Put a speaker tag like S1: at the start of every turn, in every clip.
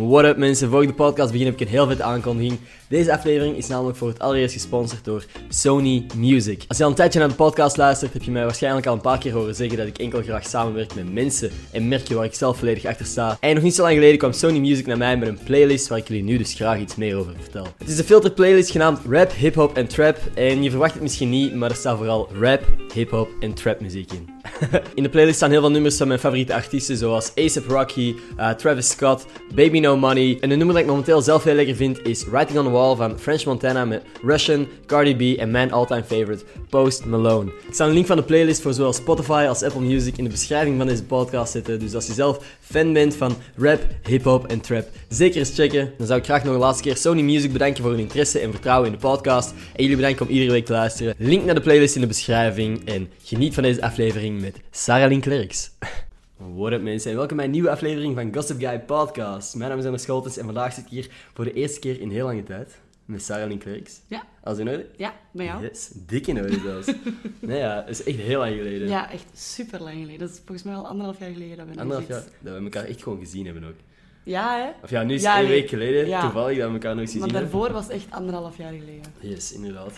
S1: What up mensen, voor ik de podcast begin heb ik een heel vette aankondiging. Deze aflevering is namelijk voor het allereerst gesponsord door Sony Music. Als je al een tijdje naar de podcast luistert, heb je mij waarschijnlijk al een paar keer horen zeggen dat ik enkel graag samenwerk met mensen en merken waar ik zelf volledig achter sta. En nog niet zo lang geleden kwam Sony Music naar mij met een playlist waar ik jullie nu dus graag iets meer over vertel. Het is een filter playlist genaamd Rap, Hip Hop en Trap. En je verwacht het misschien niet, maar er staat vooral rap, hip hop en trap muziek in. in de playlist staan heel veel nummers van mijn favoriete artiesten, zoals ASAP Rocky, eh, Travis Scott, Baby No Money. En een nummer dat ik momenteel zelf heel lekker vind is Writing on the Wall van French Montana met Russian, Cardi B en mijn all-time favorite, Post Malone. Ik zal een link van de playlist voor zowel Spotify als Apple Music in de beschrijving van deze podcast zetten. Dus als je zelf fan bent van rap, hip-hop en trap, zeker eens checken. Dan zou ik graag nog een laatste keer Sony Music bedanken voor hun interesse en vertrouwen in de podcast. En jullie bedanken om iedere week te luisteren. Link naar de playlist in de beschrijving. En geniet van deze aflevering met Sarah Lynn Klerks. What up mensen en welkom bij een nieuwe aflevering van Gossip Guy Podcast. Mijn naam is Emma Scholtens en vandaag zit ik hier voor de eerste keer in heel lange tijd met Sarah Lynn Klerks.
S2: Ja,
S1: Als in orde?
S2: ja, bij jou?
S1: Yes, dik in orde zelfs. nee ja, dat is echt heel lang geleden.
S2: Ja, echt super lang geleden. Dat is volgens mij al anderhalf jaar geleden dat we nog
S1: Anderhalf
S2: iets-
S1: jaar dat we elkaar echt gewoon gezien hebben ook.
S2: Ja, hè?
S1: Of ja, nu is het
S2: Ja,
S1: één
S2: nee.
S1: week geleden,
S2: Ja.
S1: toevallig, dat we elkaar nog eens gezien
S2: Maar
S1: hebben.
S2: daarvoor was echt anderhalf jaar geleden.
S1: Yes, inderdaad.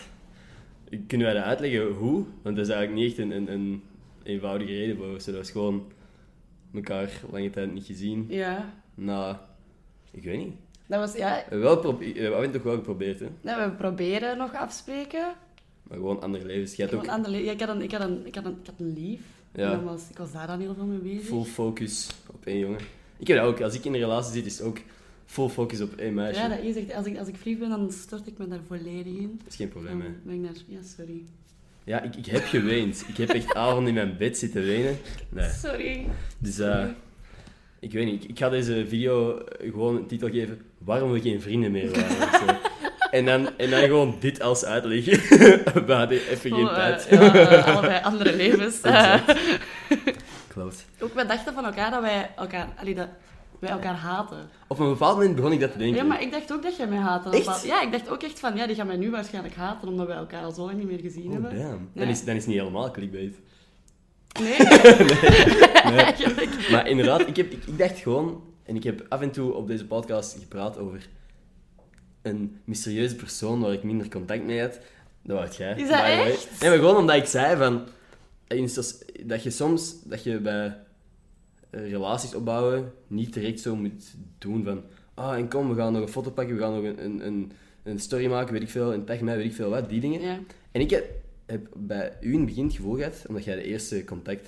S1: Kunnen wij dat uitleggen hoe? Want dat is eigenlijk niet echt een, een, een eenvoudige reden voor. Ze dat is gewoon elkaar lange tijd niet gezien.
S2: Ja.
S1: Nou, ik weet niet.
S2: Dat was, ja,
S1: We hebben wel probe- eh, we hebben het toch wel geprobeerd, hè?
S2: nou, we proberen nog afspreken.
S1: Maar gewoon andere levens. Jij hebt
S2: Want
S1: ook
S2: ander, ja, ik, had een, ik, had een, ik, had een, ik had een lief.
S1: Ja.
S2: En dan was, ik was daar dan heel veel mee bezig.
S1: full focus op één jongen. Ik heb dat ook. Als ik in een relatie zit, is het ook full focus op één meisje.
S2: Ja, dat is echt... Als ik, als ik verliefd ben, dan stort ik me daar volledig in.
S1: Dat is geen probleem, hè?
S2: Dan ben ik daar... Ja, sorry.
S1: Ja, ik, ik heb geweend. Ik heb echt avonden in mijn bed zitten wenen. Nee.
S2: Sorry.
S1: Dus eh, ik weet niet, ik, ik ga deze video eh, gewoon een titel geven: Waarom we geen vrienden meer waren. of zo. En dan, en dan gewoon dit als uitleg. We hadden even geen
S2: Gewoon, eh,
S1: tijd.
S2: ja, eh, allebei andere levens.
S1: Exact. Klopt.
S2: Ook we dachten van elkaar dat wij elkaar, allee, dat wij elkaar haten.
S1: Op een bepaald moment begon ik dat te denken.
S2: Ja, maar ik dacht ook dat jij mij haatte.
S1: Echt?
S2: Want- Ja, ik dacht ook echt van, ja, die gaan mij nu waarschijnlijk haten, omdat wij elkaar al zo lang niet meer gezien
S1: Oh,
S2: hebben.
S1: damn.
S2: Ja.
S1: Dan, is, dan is het niet helemaal clickbait.
S2: Nee, eigenlijk.
S1: Maar inderdaad, ik, heb, ik, ik dacht gewoon, en ik heb af en toe op deze podcast gepraat over een mysterieuze persoon waar ik minder contact mee had. Dat was jij.
S2: Is dat
S1: by the way.
S2: echt?
S1: Nee, maar gewoon omdat ik zei van, eh, in soc- dat je soms, dat je bij eh, relaties opbouwen niet direct zo moet doen van, ah en kom, we gaan nog een foto pakken, we gaan nog een, een, een, een story maken, weet ik veel, een tag mij, weet ik veel wat, die dingen.
S2: Ja.
S1: En ik heb, heb bij u in het begin het gevoel gehad, omdat jij de eerste contact,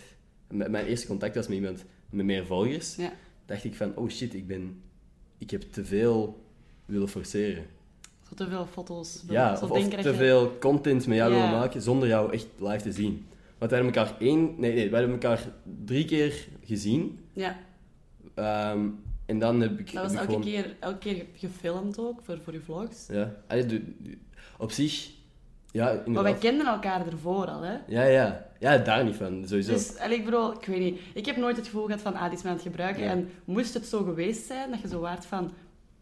S1: m- mijn eerste contact was met iemand met meer volgers,
S2: Ja.
S1: dacht ik van, oh shit, ik ben, ik heb te veel willen forceren.
S2: Zo te veel foto's.
S1: ja,
S2: Zo
S1: of, of
S2: denken dat
S1: te
S2: je-
S1: veel content met jou
S2: Ja.
S1: willen maken zonder jou echt live te zien. Want wij hebben elkaar één, nee, nee, wij hebben elkaar drie keer gezien.
S2: Ja,
S1: ehm, en dan heb ik,
S2: dat was
S1: heb ik
S2: elke
S1: gewoon-
S2: keer, elke keer ge- gefilmd ook, voor, voor je vlogs.
S1: Ja, Allee, de- de- op zich, ja, inderdaad.
S2: Maar wij kenden elkaar ervoor al, hè.
S1: Ja, ja, ja, daar niet van, sowieso.
S2: Dus, allee, ik bedoel, ik weet niet. Ik heb nooit het gevoel gehad van, ah, die is mij aan het gebruiken.
S1: Ja.
S2: En moest het zo geweest zijn, dat je zo waard van,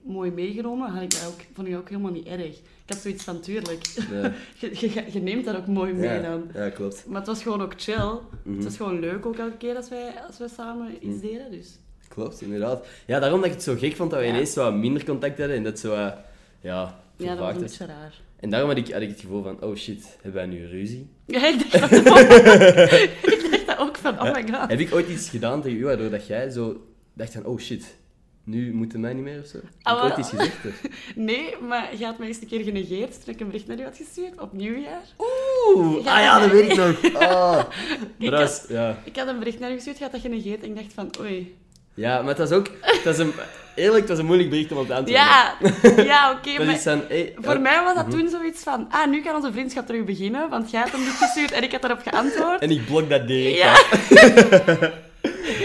S2: mooi meegenomen, had ik dat ook, vond ik dat ook helemaal niet erg. Ik had zoiets van, tuurlijk.
S1: Ja.
S2: je, je, je neemt dat ook mooi mee
S1: ja, Mhm.
S2: dan.
S1: ja, klopt.
S2: Maar het was gewoon ook chill. Het was gewoon leuk ook elke keer als wij, als wij samen
S1: Mhm.
S2: iets deden, dus...
S1: Klopt, inderdaad. Ja, daarom dat ik het zo gek vond dat we
S2: Ja.
S1: ineens wat minder contact hadden en dat zo, eh, ja,
S2: Ja, dat was
S1: vervaagd
S2: een
S1: is.
S2: beetje raar.
S1: En daarom had ik, had ik het gevoel van, oh shit, hebben wij nu ruzie?
S2: Ja, ik dacht dat ook. ik dacht dat ook van, oh my god.
S1: Heb ik ooit iets gedaan tegen u waardoor dat jij zo dacht van, oh shit, nu moeten mij niet meer of zo? Heb ik
S2: Ah, wel.
S1: ooit iets gezegd? of?
S2: Nee, maar je had mij eens een keer genegeerd toen ik een bericht naar u had gestuurd, op nieuwjaar.
S1: Oeh, ah ja, dat weet ik nog. Ah. Maar dat was- ja.
S2: Ik had een bericht naar u gestuurd, je had dat genegeerd en ik dacht van, oei.
S1: ja, maar het was ook, het was een, eerlijk, het was een moeilijk bericht om op te antwoorden.
S2: Ja, ja oké,
S1: Dat
S2: maar...
S1: is eh, Mhm. dan, hey,
S2: Voor mij was dat toen zoiets van, ah, nu kan onze vriendschap terug beginnen, want jij hebt hem niet gestuurd en ik had daarop geantwoord.
S1: En ik blok dat direct
S2: Ja.
S1: af.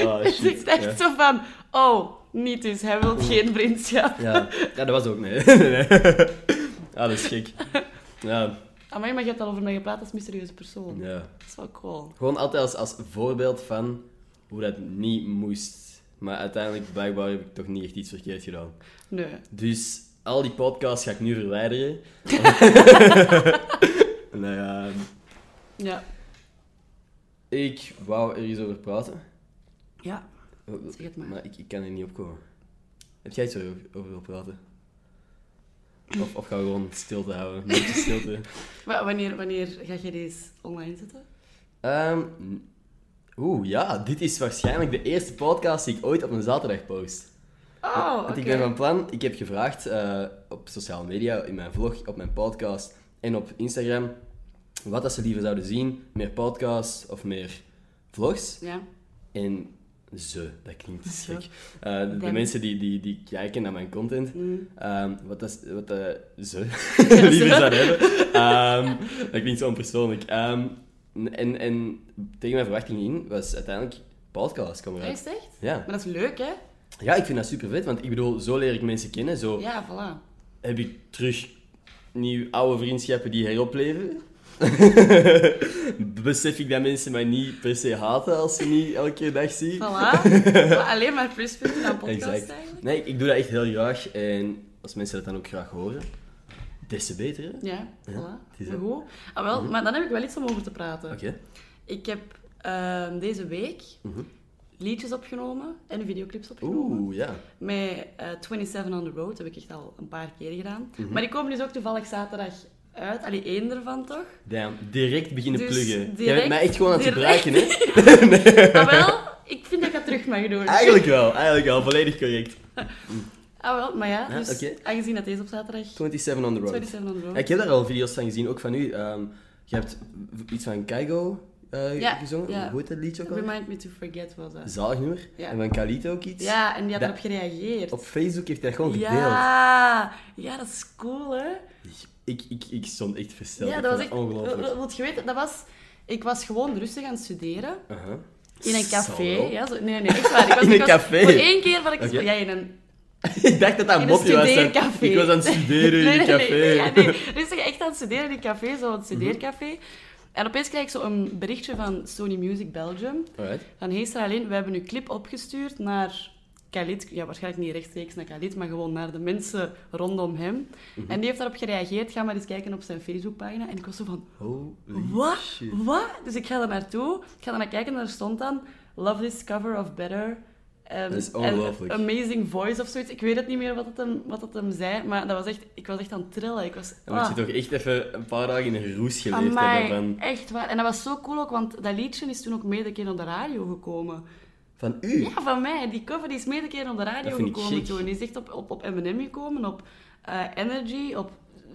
S1: Ah,
S2: Dus
S1: shit.
S2: ik dacht
S1: ja.
S2: zo van, oh, niet dus, hij wil geen vriendschap.
S1: Ja, ja dat was ook nee. Nee. ah, dat is gek. Ja,
S2: Amai, maar je hebt al over mij gepraat als mysterieuze persoon.
S1: ja.
S2: Dat is wel cool.
S1: Gewoon altijd als, als voorbeeld van hoe dat niet moest. Maar uiteindelijk, blijkbaar, heb ik toch niet echt iets verkeerd gedaan.
S2: Nee.
S1: Dus al die podcasts ga ik nu verwijderen. nou ja,
S2: Ja.
S1: ik wou er iets over praten.
S2: Ja, zeg het maar.
S1: Maar ik, ik kan er niet op komen. Heb jij iets waar je over- over wil praten? Of, of gaan we gewoon stilte houden? Een beetje stilte.
S2: Wa- wanneer, wanneer ga je deze online zetten?
S1: Ehm, n- Oeh, ja, dit is waarschijnlijk de eerste podcast die ik ooit op een zaterdag post.
S2: Oh, oké.
S1: Want ik ben van plan, ik heb gevraagd eh, op sociale media, in mijn vlog, op mijn podcast en op Instagram, wat dat ze liever zouden zien. Meer podcasts of meer vlogs.
S2: Ja.
S1: En ze, dat klinkt
S2: Zo.
S1: gek. Eh, de- de
S2: Them.
S1: mensen die, die, die kijken naar mijn content,
S2: Mm.
S1: ehm, wat, dat, wat dat ze liever zouden hebben, ehm, dat klinkt zo onpersoonlijk. Ehm, en, en tegen mijn verwachting in was uiteindelijk podcast komen
S2: Is
S1: eruit.
S2: het echt?
S1: Ja.
S2: Maar dat is leuk, hè?
S1: ja, ik vind dat super vet, want ik bedoel, zo leer ik mensen kennen. Zo
S2: Ja, voilà.
S1: heb ik terug nieuw oude vriendschappen die heropleven. Besef ik dat mensen mij niet per se haten als ze niet elke keer dag zien.
S2: Voilà. Zo Alleen maar pluspunten aan podcast
S1: Exact.
S2: eigenlijk.
S1: Nee, ik doe dat echt heel graag. En als mensen dat dan ook graag horen, des te beter. hè? Oké.
S2: Ja, voilà.
S1: het is Mhm.
S2: Maar
S1: het.
S2: Goed. Ah, wel, maar dan heb ik wel iets om over te praten. Ik heb ehm, deze week
S1: Mhm.
S2: liedjes opgenomen en videoclips opgenomen.
S1: Oeh, ja.
S2: Met eh 27 on the Road heb ik echt al een paar keer gedaan.
S1: Mhm.
S2: Maar die komen dus ook toevallig zaterdag uit. Allee, één ervan toch?
S1: Damn, direct beginnen
S2: Dus
S1: pluggen. Jij bent
S2: direct-
S1: mij echt gewoon aan het
S2: direct-
S1: gebruiken, hè?
S2: ah, wel, ik vind dat ik dat terug mag doen.
S1: Eigenlijk wel, eigenlijk wel. Volledig correct.
S2: Ah, wel, maar ja,
S1: Ja,
S2: dus
S1: oké.
S2: aangezien dat deze op zaterdag
S1: 27 on the road.
S2: 27 on the Road.
S1: Ik heb daar al video's van gezien, ook van u. Ehm, je hebt v- iets van Keigo eh,
S2: Ja,
S1: gezongen.
S2: ja.
S1: Hoe heet dat liedje ook al?
S2: Remind me to forget was dat.
S1: Zalig nummer.
S2: Ja.
S1: En van Kalito ook iets.
S2: Ja, en die had
S1: Dat-
S2: erop gereageerd.
S1: Op Facebook heeft hij dat gewoon gedeeld.
S2: ja, ja, dat is cool, hè?
S1: Ik, ik, ik stond echt versteld.
S2: ja,
S1: Ik
S2: dat was
S1: vond
S2: echt...
S1: Ongelooflijk.
S2: Wil wil je weten, dat was... Ik was gewoon rustig aan het studeren.
S1: Aha.
S2: In een café.
S1: Zal wel.
S2: Ja, zo, nee, nee, echt waar. Ik was,
S1: In
S2: ik
S1: een
S2: was-
S1: café?
S2: Voor één keer wat ik...
S1: Oké.
S2: Ja, in een...
S1: Ik dacht dat dat
S2: In
S1: een
S2: een
S1: mopje was. hè.
S2: studeercafé.
S1: Ik was aan het studeren in
S2: nee,
S1: een
S2: nee,
S1: café. Mhm.
S2: nee, ja, nee. Rustig echt aan het studeren in een café, zo'n studeercafé. En opeens krijg ik zo een berichtje van Sony Music Belgium.
S1: Alright.
S2: Van, hey Saralin, we hebben uw clip opgestuurd naar Khalid. Ja, waarschijnlijk niet rechtstreeks naar Khalid, maar gewoon naar de mensen rondom hem.
S1: Mhm.
S2: En die heeft daarop gereageerd. Ga maar eens kijken op zijn Facebookpagina. En ik was zo van,
S1: Holy
S2: wat?
S1: shit.
S2: Wat? Dus ik ga er naartoe. Ik ga er naar kijken en daar stond dan... Love this cover of Better. ehm,
S1: Dat is
S2: en
S1: ongelooflijk.
S2: Amazing voice of zoiets. Ik weet het niet meer wat het hem, wat het hem zei, maar dat was echt, ik was echt aan het trillen. Ik was...
S1: Dan moet je
S2: ah.
S1: toch echt even een paar dagen in een roes geleefd
S2: Amai,
S1: hebben. Van,
S2: echt waar. En dat was zo cool ook, want dat liedje is toen ook meerdere keer op de radio gekomen.
S1: van u?
S2: Ja, van mij. Die cover die is meerdere keer op de radio
S1: Dat vind ik
S2: gekomen
S1: chic.
S2: toen. Die is echt op, op, op M&M gekomen, op eh, Energy, op...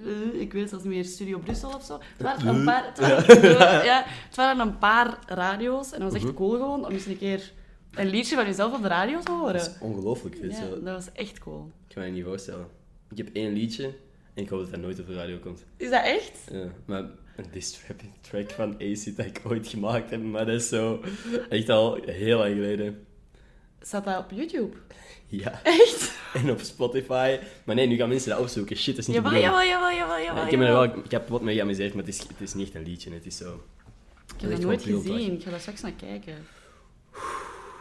S2: eh, ik weet het zelfs niet meer, Studio Brussel of zo. Het waren een paar, het waren, ja, het waren een paar radio's en dat was echt
S1: Mhm.
S2: cool gewoon om eens een keer een liedje van jezelf op de radio te
S1: Dat
S2: horen.
S1: is ongelooflijk. dit is
S2: Ja,
S1: wel-
S2: dat was echt cool.
S1: Ik kan me dat niet voorstellen. Ik heb één liedje en ik hoop dat dat nooit op de radio komt.
S2: Is dat echt?
S1: Ja, maar een diss trap- track van AC dat ik ooit gemaakt heb, maar dat is zo echt al heel lang geleden.
S2: Staat dat op YouTube?
S1: Ja,
S2: Echt?
S1: en op Spotify. Maar nee, nu gaan mensen dat opzoeken. Shit, dat is niet
S2: Jawel,
S1: te doen.
S2: jawel, jawel, jawel, jawel.
S1: ik heb me er
S2: jawel.
S1: wel ik heb wat mee geamuseerd, maar het is, het is niet echt een liedje. Het is zo...
S2: Ik heb
S1: Echt
S2: dat
S1: wel
S2: nooit
S1: veel
S2: gezien. Ik ga daar straks naar kijken.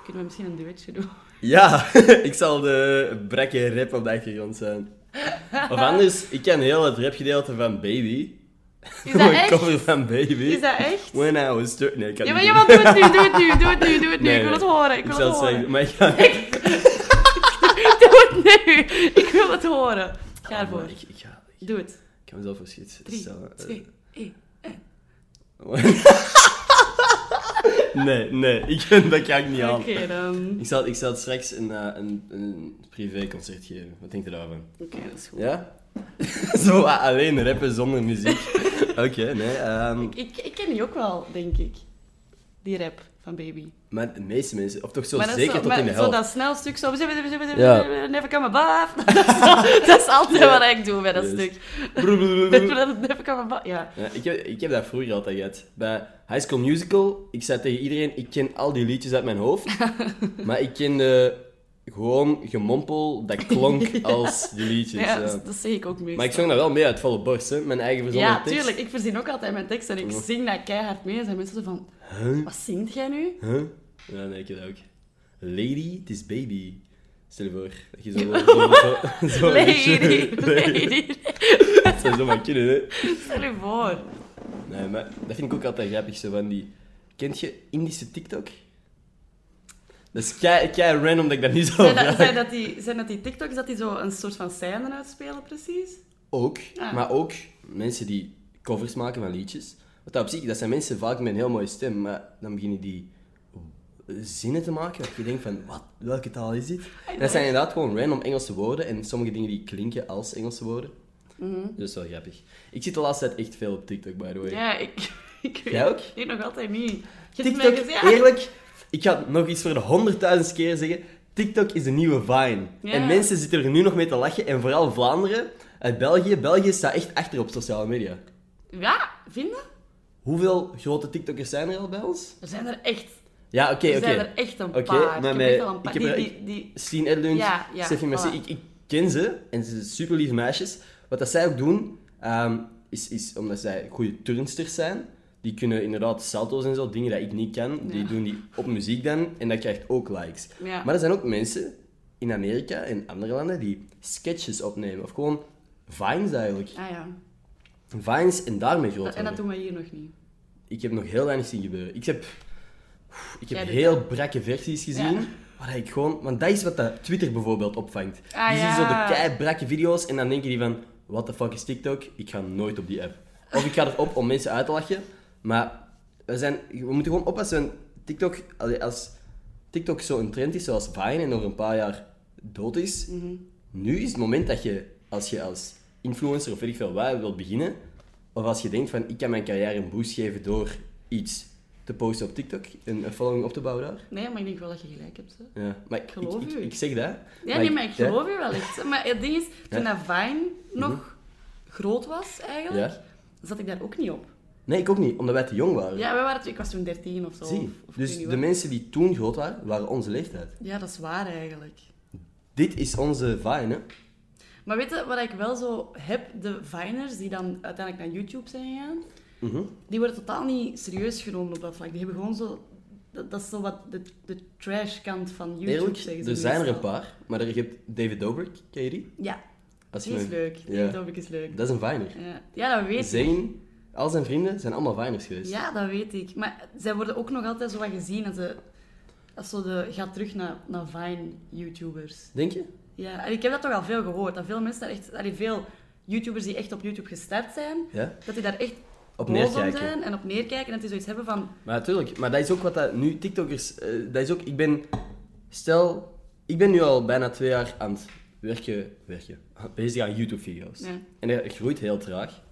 S2: Kunnen we misschien een duetje doen?
S1: Ja, ik zal de brekke rap op de achtergrond zijn. Of anders, ik ken heel het rapgedeelte van Baby.
S2: Is dat
S1: Een
S2: echt?
S1: cover van Baby.
S2: Is dat echt?
S1: When I was thir- Nee, ik kan
S2: Ja,
S1: het
S2: maar
S1: niet
S2: jawel, doe het nu, doe het nu, doe het nu, doe het nu.
S1: Nee,
S2: ik wil
S1: nee.
S2: het horen, ik
S1: doen. Ik zal
S2: wil het
S1: het
S2: horen.
S1: zeggen, maar ik ga...
S2: Doe het nu, ik wil het horen. Ga
S1: Oh,
S2: ervoor.
S1: maar ik, ik ga... Ik
S2: Doe het.
S1: kan mezelf voor eh, schiet
S2: Drie,
S1: stellen.
S2: twee, één.
S1: Nee, nee, ik, dat kan ik niet aan.
S2: Oké, dan.
S1: Ik zal, ik zal straks een, eh, een, een privéconcert geven. Wat denk je daarvan?
S2: Oké, dat is goed.
S1: Ja? Zo ah, alleen rappen zonder muziek. Oké, nee. ehm,
S2: Ik, ik ken die ook wel, denk ik. Die rap van Baby.
S1: maar de meeste mensen, of toch zo
S2: Maar dat is
S1: zeker
S2: zo-
S1: tot
S2: maar
S1: in de
S2: Zo
S1: helft.
S2: dat snel stuk zo...
S1: Ja.
S2: Never come above. Dat is altijd
S1: Ja.
S2: wat ik doe bij dat
S1: Yes.
S2: stuk.
S1: Blablabla.
S2: Never come above. Ja.
S1: Ja, ik, heb, ik heb dat vroeger altijd gehad. Bij High School Musical, ik zei tegen iedereen, ik ken al die liedjes uit mijn hoofd. maar ik kende gewoon gemompel dat klonk als die liedjes.
S2: Ja,
S1: ja.
S2: dat, dat zeg ik ook meestal.
S1: Maar ik zong dat wel mee uit volle borst, hè? mijn eigen verzonnen
S2: Ja,
S1: tekst.
S2: tuurlijk. Ik verzin ook altijd mijn tekst en ik zing dat keihard mee. En zijn mensen zo van...
S1: Huh?
S2: Wat zingt jij nu?
S1: Huh? Ja, nee, ik heb dat ook. Lady, het is baby. Stel je voor dat je zo... zo, zo, zo
S2: Lady,
S1: Nee,
S2: lady.
S1: Dat zou zomaar kunnen, hè?
S2: Stel je voor.
S1: Nee, maar dat vind ik ook altijd grappig, zo van die... Kent je Indische TikTok? Dat is kei, kei random dat ik dat niet zou
S2: Zijn dat,
S1: vragen.
S2: zijn, dat die, zijn dat die TikToks dat die zo een soort van scène uitspelen, precies?
S1: Ook,
S2: Ah.
S1: maar ook mensen die covers maken van liedjes. Wat dat op zich, dat zijn mensen vaak met een heel mooie stem, maar dan beginnen die zinnen te maken dat je denkt van, wat, welke taal is dit? Dat zijn inderdaad gewoon random Engelse woorden en sommige dingen die klinken als Engelse woorden. Dus dat is wel grappig. Ik zit de laatste tijd echt veel op TikTok, by the way.
S2: Mhm. Ja, ik, ik weet
S1: Jij ook?
S2: ik nog altijd niet. Je hebt mij
S1: TikTok,
S2: gezegd, ja.
S1: eerlijk, ik ga het nog iets voor de honderdduizend keer zeggen. TikTok is de nieuwe Vine.
S2: Ja.
S1: En mensen zitten er nu nog mee te lachen. En vooral Vlaanderen, uit België. België staat echt achter op sociale media.
S2: Ja, vinden?
S1: Hoeveel grote TikTokkers zijn er al bij ons?
S2: Er zijn er echt,
S1: Ja, oké,
S2: er
S1: oké.
S2: zijn er echt een
S1: Oké,
S2: paar.
S1: maar
S2: ik
S1: met-
S2: heb echt wel een paar.
S1: ik
S2: die,
S1: heb er-
S2: die, die,
S1: Stine Edlund,
S2: Ja, ja,
S1: Steffi Merci.
S2: voilà.
S1: Ik, ik ken ze en ze zijn super lieve meisjes. Wat dat zij ook doen, ehm, is, is omdat zij goede turnsters zijn. Die kunnen inderdaad salto's en zo, dingen dat ik niet kan. Die
S2: Ja.
S1: doen die op muziek dan en dat krijgt ook likes.
S2: Ja.
S1: Maar er zijn ook mensen in Amerika en andere landen die sketches opnemen. Of gewoon vines eigenlijk.
S2: Ah ja,
S1: Vines en daarmee groot
S2: dat, en dat
S1: worden.
S2: doen we hier nog niet.
S1: Ik heb nog heel weinig zien gebeuren. Ik heb, oef, ik
S2: Jij
S1: heb
S2: doet
S1: heel brakke versies gezien.
S2: Ja.
S1: Waar ik gewoon, want dat is wat dat Twitter bijvoorbeeld opvangt.
S2: Ah,
S1: die zien zo
S2: ja.
S1: de kei brakke video's en dan denk je die van, what the fuck is TikTok? Ik ga nooit op die app. Of ik ga erop om mensen uit te lachen. Maar we, zijn, we moeten gewoon oppassen. want TikTok, allee, als TikTok zo'n trend is zoals Vine en over een paar jaar dood is,
S2: Mhm.
S1: nu is het moment dat je, als je als influencer of weet ik veel waar wilt beginnen, of als je denkt van ik kan mijn carrière een boost geven door iets te posten op TikTok, een, een following op te bouwen daar.
S2: Nee, maar ik denk wel dat je gelijk hebt. Hè.
S1: Ja, maar ik,
S2: Geloof
S1: ik, ik,
S2: u.
S1: ik zeg dat.
S2: Ja, nee, maar ik
S1: ja.
S2: geloof je wel echt. hè. Maar het ding is, toen
S1: Ja. Mhm.
S2: dat Vine nog groot was eigenlijk,
S1: Ja.
S2: zat ik daar ook niet op.
S1: Nee, ik ook niet, omdat wij te jong waren.
S2: Ja, wij waren, ik was toen 13 of zo.
S1: Zie,
S2: of- of ik
S1: dus
S2: weet niet
S1: de
S2: wat.
S1: mensen die toen groot waren, waren onze leeftijd.
S2: Ja, dat is waar eigenlijk.
S1: Dit is onze Vine, hè.
S2: Maar weet je wat ik wel zo heb? De Viners die dan uiteindelijk naar YouTube zijn gegaan,
S1: Mhm.
S2: die worden totaal niet serieus genomen op dat vlak. Die hebben gewoon zo... Dat, dat is zo wat de, de trash kant van YouTube,
S1: Eerlijk,
S2: zeggen ze
S1: er zijn er een
S2: meestal.
S1: paar, maar er- je hebt David Dobrik, ken je die?
S2: Ja,
S1: Als je
S2: die is
S1: me-
S2: leuk.
S1: Ja.
S2: Die ja. is leuk.
S1: Dat is een Viner.
S2: Ja. ja, dat weet ik.
S1: Zayn, al zijn vrienden zijn allemaal Viners geweest.
S2: Ja, dat weet ik. Maar zij worden ook nog altijd zo wat gezien als ze... Als zo de, gaat terug naar, naar Vine-YouTubers.
S1: Denk je?
S2: Ja, en ik heb dat toch al veel gehoord. Dat veel mensen daar echt... allee, veel YouTubers die echt op YouTube gestart zijn,
S1: Ja.
S2: dat die daar echt
S1: Op
S2: boos om
S1: neerkijken.
S2: zijn en op neerkijken. En dat die zoiets hebben van...
S1: Maar natuurlijk, maar dat is ook wat dat nu TikTokers. eh, dat is ook, ik ben. Stel, ik ben nu al bijna twee jaar aan het werken. werken bezig aan YouTube-video's.
S2: Ja.
S1: En dat groeit heel traag.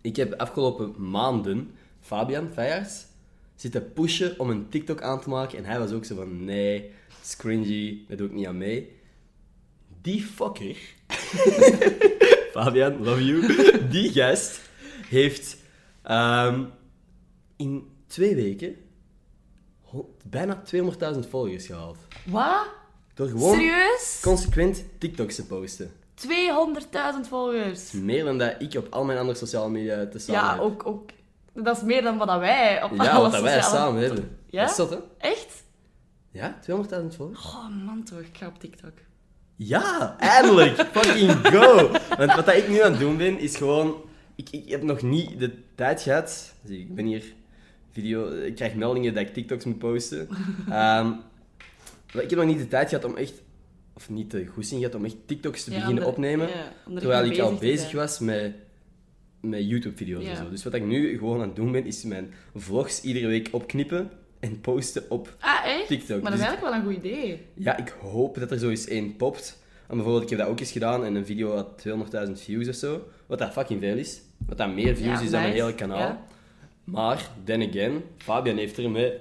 S1: Ik heb afgelopen maanden Fabian Feijers zitten pushen om een TikTok aan te maken. En hij was ook zo van: nee, scringy, daar doe ik niet aan mee. Die fucker. Fabian, love you. Die gast heeft ehm, in twee weken ho- bijna 200.000 volgers gehaald.
S2: Wat?
S1: Door gewoon
S2: Serieus?
S1: consequent TikToks te posten.
S2: 200.000 volgers.
S1: Meer dan dat ik op al mijn andere sociale media te Hm. samen
S2: Ja,
S1: heb.
S2: ook, ook... Dat is meer dan wat dat wij op
S1: Ja,
S2: alle
S1: wat dat wij
S2: sociale-
S1: samen hebben.
S2: Ja?
S1: Dat is zot, hè?
S2: Echt?
S1: Ja, 200.000 volgers.
S2: Oh man toch, ik ga op TikTok.
S1: Ja, eindelijk! Fucking go! Want wat dat ik nu aan het doen ben, is gewoon... Ik, ik heb nog niet de tijd gehad... Zie, ik ben hier... Video, ik krijg meldingen dat ik TikToks moet posten. Ehm, maar ik heb nog niet de tijd gehad om echt... Of niet de goesting gehad om echt TikToks te
S2: Ja,
S1: beginnen
S2: om er-
S1: opnemen.
S2: ja, om er
S1: terwijl
S2: echt
S1: ik
S2: mee
S1: al
S2: bezig te
S1: bezig
S2: zijn.
S1: was met, met YouTube-video's
S2: Ja.
S1: en zo. Dus wat ik nu gewoon aan het doen ben, is mijn vlogs iedere week opknippen en posten op
S2: Ah, echt?
S1: TikTok,
S2: Maar dat
S1: dus-
S2: is eigenlijk wel een goed idee.
S1: Ja, ik hoop dat er zo eens één popt. En bijvoorbeeld, ik heb dat ook eens gedaan en een video had 200.000 views of zo. Wat dat fucking veel is. Wat dat meer views
S2: Ja,
S1: is dan mijn
S2: nice.
S1: hele kanaal.
S2: Ja.
S1: Maar, then again, Fabian heeft er met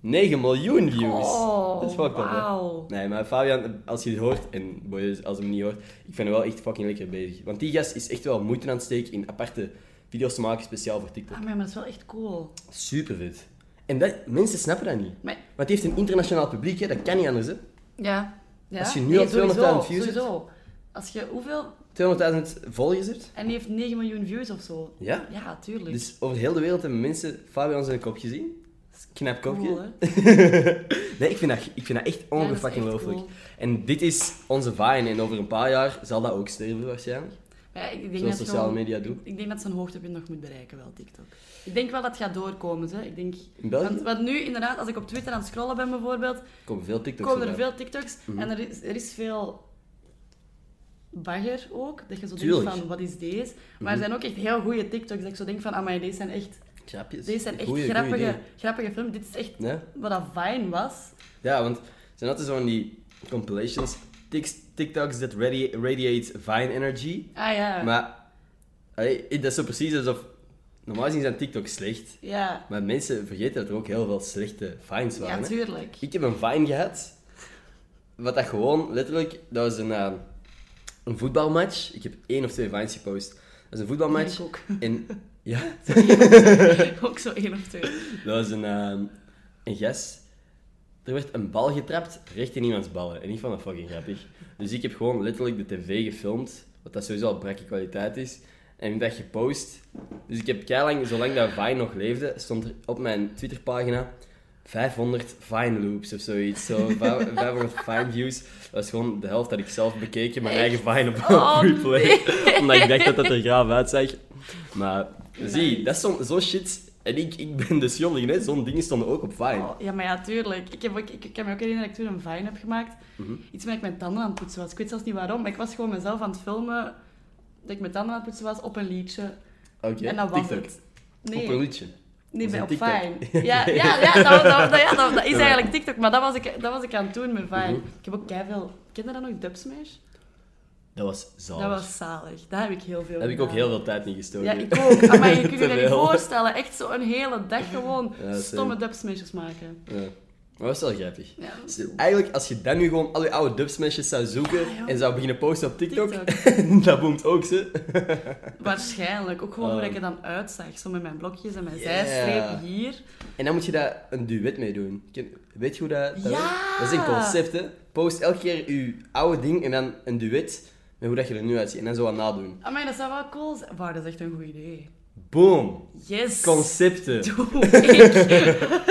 S1: 9 miljoen views.
S2: Oh,
S1: dat is fucked up, hè?
S2: wauw.
S1: Nee, maar Fabian, als je het hoort, en boys, als je hem niet hoort, ik vind hem wel echt fucking lekker bezig. Want die gast is echt wel moeite aan het steken in aparte video's te maken, speciaal voor TikTok.
S2: Ah, maar dat is wel echt cool.
S1: Super vet. En dat, mensen snappen dat niet.
S2: Maar
S1: Want die heeft een internationaal publiek, hè? dat kan niet anders. Hè?
S2: ja. ja.
S1: Als je nu al
S2: sowieso,
S1: 200.000 views hebt.
S2: Sowieso. Als je hoeveel...
S1: 200.000 volgers hebt.
S2: En die heeft 9 miljoen views of zo.
S1: Ja?
S2: Ja, tuurlijk.
S1: Dus over heel de wereld hebben mensen Fabian zijn kop gezien. Knap kopje.
S2: Cool, hè?
S1: nee, ik vind dat, ik vind dat echt
S2: is
S1: ongefucking
S2: echt
S1: looflijk.
S2: cool.
S1: En dit is onze Vine en over een paar jaar zal dat ook sterven waarschijnlijk.
S2: Maar Ja, ik denk
S1: Zoals
S2: dat
S1: sociale
S2: gewoon-
S1: media doen.
S2: Ik denk dat zijn hoogtepunt nog moet bereiken, wel, TikTok. Ik denk wel dat het gaat doorkomen, hè. Ik denk...
S1: In België?
S2: Want, want nu, inderdaad, als ik op Twitter aan het scrollen ben, bijvoorbeeld,
S1: komen veel TikToks Mhm.
S2: komen er
S1: vandaan.
S2: veel TikToks en er is, er is veel bagger ook. Dat je zo
S1: Tuurlijk. Mhm.
S2: denkt van, wat is deze? Maar er zijn ook echt heel goede TikToks dat ik zo denk van, amai, deze zijn echt,
S1: Grapjes.
S2: deze zijn echt
S1: Goeie- goeie
S2: grappige,
S1: ideeën.
S2: grappige films. Dit is echt
S1: Ja?
S2: wat dat Vine was.
S1: ja, want het zijn altijd zo van die compilations. Tiks- TikToks that radi- radiate vine energy.
S2: Ah ja,
S1: Maar allee, dat is zo precies alsof... Normaal gezien zijn TikToks slecht.
S2: ja.
S1: Maar mensen vergeten dat er ook heel veel slechte vines waren.
S2: Ja,
S1: hè.
S2: tuurlijk.
S1: Ik heb een Vine gehad. Wat dat gewoon, letterlijk, dat was een, eh, een voetbalmatch. Ik heb één of twee Vines gepost. Dat is een voetbalmatch.
S2: Ja, ik ook.
S1: En ja,
S2: ook zo één of twee.
S1: dat was een, eh, een gast. Er werd een bal getrapt, recht in iemands ballen. En ik vond dat fucking grappig. Dus ik heb gewoon letterlijk de tv gefilmd, wat dat sowieso al brakke kwaliteit is. En dat gepost. Dus ik heb keilang, zolang dat Vine nog leefde, stond er op mijn Twitterpagina 500 Vine loops of zoiets. Zo, 500 Vine views. Dat was gewoon de helft dat ik zelf bekeek en mijn eigen Vine op
S2: Oh,
S1: op replay. Omdat ik dacht dat dat er graaf uitzag. Maar zie, dat is zo'n zo shit. En ik, ik ben de schuldige, hè. zo'n dingen stonden ook op Vine.
S2: Oh, ja, maar ja, tuurlijk. Ik, heb ook, ik, ik kan me ook herinneren dat ik toen een Vine heb gemaakt.
S1: Mhm.
S2: Iets waar ik mijn tanden aan het poetsen was. Ik weet zelfs niet waarom, maar ik was gewoon mezelf aan het filmen dat ik mijn tanden aan het poetsen was op een liedje.
S1: Oké,
S2: en dat was
S1: TikTok.
S2: het. Nee.
S1: Op een liedje.
S2: Nee,
S1: Dat
S2: bij
S1: is
S2: op
S1: een TikTok.
S2: Vine. Ja, ja, ja, dat, dat, dat- ja dat, dat is eigenlijk TikTok, maar dat was ik, dat was ik aan het doen met Vine.
S1: Mhm.
S2: Ik heb ook keiveel... Ken je dat nog, Dubsmash?
S1: Dat was zalig.
S2: Dat was zalig. Daar heb ik heel veel
S1: Daar Oh. heb ik ook
S2: gedaan.
S1: heel veel tijd niet gestoken.
S2: Ja, ik ook. Ah, Maar je kunt je
S1: Te
S2: dat niet
S1: veel.
S2: voorstellen. Echt zo'n hele dag gewoon
S1: Ja, same.
S2: stomme dubsmashes maken.
S1: Ja. Maar dat was wel grappig.
S2: Ja.
S1: Dus eigenlijk, als je dan nu gewoon al je oude dubsmashes zou zoeken
S2: Ah, joh.
S1: en zou beginnen posten op TikTok, dat boomt ook ze.
S2: Waarschijnlijk. Ook gewoon hoe
S1: Oh.
S2: ik er dan uitzag. Zo met mijn blokjes en mijn
S1: Ja.
S2: zijstreep hier.
S1: En dan moet je daar een duet mee doen. Ken- Weet je hoe dat, dat
S2: Ja!
S1: werkt? Dat is een concept, hè. Post elke keer je oude ding en dan een duet met hoe dat je er nu uitziet. En dan zo wat nadoen.
S2: Amai, dat zou wel cool zijn. Wauw, dat is echt een goed idee.
S1: Boom!
S2: Yes!
S1: Concepten!
S2: Doe ik.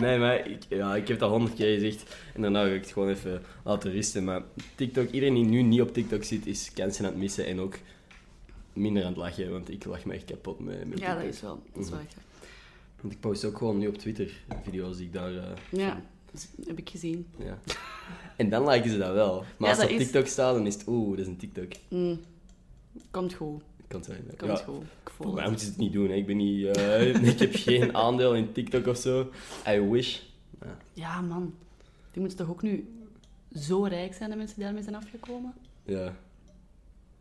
S1: Nee, maar ik, ja, ik heb het al honderd keer gezegd. En daarna ga ik het gewoon even laten rusten. Maar TikTok, iedereen die nu niet op TikTok zit, is kansen aan het missen. En ook minder aan het lachen, want ik lach me echt kapot met, met
S2: Ja, dat
S1: TikTok.
S2: is wel. Dat is wel
S1: Mhm.
S2: echt.
S1: Want ik post ook gewoon nu op Twitter video's die ik daar... eh,
S2: Ja, dat heb ik gezien.
S1: ja. En dan liken ze dat wel. Maar
S2: Ja,
S1: als het
S2: dat
S1: op
S2: is-
S1: TikTok staat, dan is het... Oeh, dat is een TikTok.
S2: Mm. Komt goed.
S1: Kan zijn. hè.
S2: Komt
S1: ja.
S2: goed. Ik voel
S1: Voor mij
S2: het.
S1: moeten ze het niet doen. Hè. Ik ben niet... eh, ik heb geen aandeel in TikTok of zo. I wish. Ja.
S2: Ja, man. Die moeten toch ook nu zo rijk zijn, de mensen die daarmee zijn afgekomen?
S1: ja.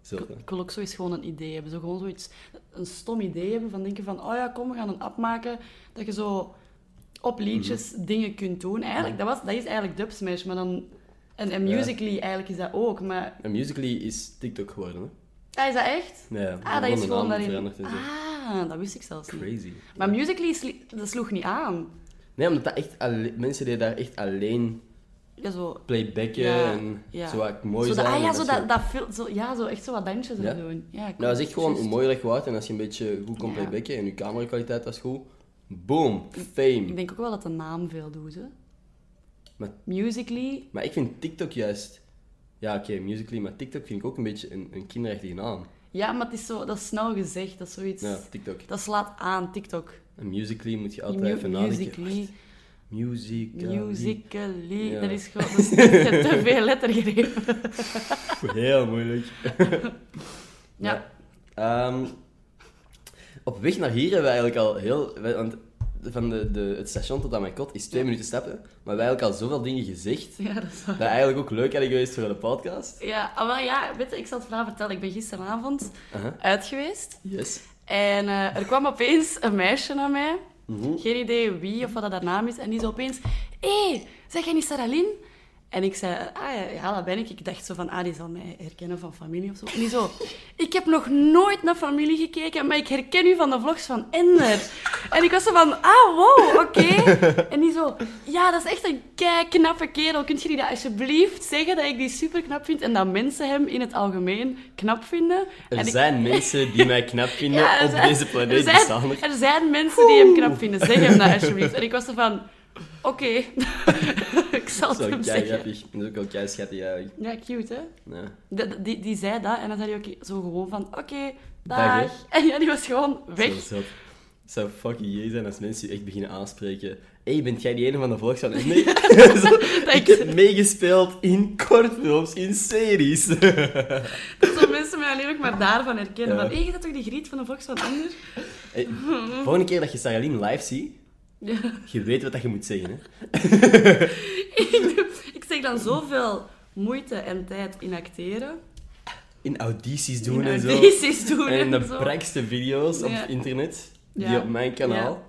S1: Zult, hè.
S2: Ik wil ook zoiets gewoon een idee hebben. Zo gewoon zoiets, een stom idee hebben van denken van, oh ja, kom, we gaan een app maken dat je zo op liedjes
S1: Mhm.
S2: dingen kunt doen. Eigenlijk, dat, was, dat is eigenlijk Dubsmash, maar dan... En, en
S1: Ja.
S2: Musical.ly eigenlijk is dat ook, maar...
S1: En Musical.ly is TikTok geworden, hè?
S2: Ah, is dat echt?
S1: Nee,
S2: Ah, dat is gewoon daarin...
S1: veranderd en zo.
S2: Ah, dat wist ik zelfs niet.
S1: Crazy.
S2: Maar Musical.ly sli- dat sloeg niet aan.
S1: Nee, omdat dat echt alle- mensen die daar echt alleen
S2: Ja, zo...
S1: playbacken
S2: Ja,
S1: en
S2: ja.
S1: zo wat mooi
S2: zo dat,
S1: zijn.
S2: ah ja,
S1: en
S2: zo,
S1: soort-
S2: dat, dat fil- zo, ja, zo echt zo wat dansjes
S1: Ja.
S2: en doen. Ja,
S1: Nou, dat is echt gewoon
S2: juist.
S1: hoe mooi dat je wordt en als je een beetje goed kon
S2: Ja.
S1: playbacken en je camerakwaliteit was goed, boom, fame.
S2: Ik denk ook wel dat de naam veel doet, hè.
S1: Maar-
S2: Musical.ly,
S1: Maar ik vind TikTok juist... Ja, oké, Musical.ly, maar TikTok vind ik ook een beetje een, een kinderachtige naam.
S2: Ja, maar het is zo, dat is snel gezegd, dat is zoiets...
S1: Ja, TikTok.
S2: Dat slaat aan, TikTok.
S1: En Musical.ly moet je altijd
S2: Mu-
S1: even nadenken.
S2: Musical.ly,
S1: Musical.ly.
S2: Musical.ly,
S1: Ja.
S2: dat is gewoon... Dat is te veel lettergrepen.
S1: Heel moeilijk.
S2: Ja.
S1: Ehm, op weg naar hier hebben we eigenlijk al heel... wij- Want van de, de, het station tot aan mijn kot is twee minuten stappen. Maar we hebben eigenlijk al zoveel dingen gezegd.
S2: Ja, dat is waar.
S1: Dat eigenlijk ook leuk hadden geweest voor de podcast.
S2: Ja, ah, wel ja, weet je, ik zal het verhaal vertellen. Ik ben gisteravond
S1: Aha.
S2: uit geweest.
S1: Yes.
S2: En eh, er kwam opeens een meisje naar mij.
S1: Mhm.
S2: Geen idee wie of wat dat haar naam is. En die zei opeens... Hé, hey, zeg jij niet Saralin? En ik zei... Ah ja, ja, dat ben ik. Ik dacht zo van... Ah, die zal mij herkennen van familie of zo. En die zo... Ik heb nog nooit naar familie gekeken, maar ik herken u van de vlogs van Ender. En ik was zo van... Ah, wow, oké. En die zo... Ja, dat is echt een kei knappe kerel. Kunt je die dat alsjeblieft zeggen dat ik die super knap vind? En dat mensen hem in het algemeen knap vinden.
S1: Er
S2: en ik-
S1: zijn mensen die mij knap vinden
S2: ja, er
S1: op
S2: zijn-
S1: deze planeet.
S2: Er
S1: bestaan er.
S2: zijn, er zijn mensen die hem knap vinden. Zeg hem dat alsjeblieft. En ik was er van... Oké, ik zal het
S1: Zo
S2: hem
S1: kei
S2: zeggen.
S1: grappig. Dat is ook wel kei schattig eigenlijk.
S2: Ja, cute hè?
S1: Ja.
S2: Die, die, die zei dat en dan zei hij ook zo gewoon van, oké,
S1: Dag, hè.
S2: dag. En ja, die was gewoon weg.
S1: Zo zot. Het zou fucking jee zijn als mensen je echt beginnen aanspreken. Hé, hey, bent jij die ene van de volkszaal? Nee. Zo, ik heb meegespeeld in kortfilms, in series.
S2: Zo mensen mij alleen ook maar daarvan herkennen.
S1: Ja.
S2: Van, hé, je bent toch die griet van de Vox van Ander?
S1: Hey, volgende keer dat je Saralien live ziet,
S2: Ja.
S1: je weet wat dat je moet zeggen. Hè?
S2: ik, doe- ik zeg dan zoveel moeite en tijd in acteren.
S1: In audities doen
S2: In
S1: en zo.
S2: audities doen
S1: En
S2: en,
S1: de
S2: zo.
S1: prankste video's op
S2: Ja.
S1: het internet, die
S2: Ja.
S1: op mijn kanaal.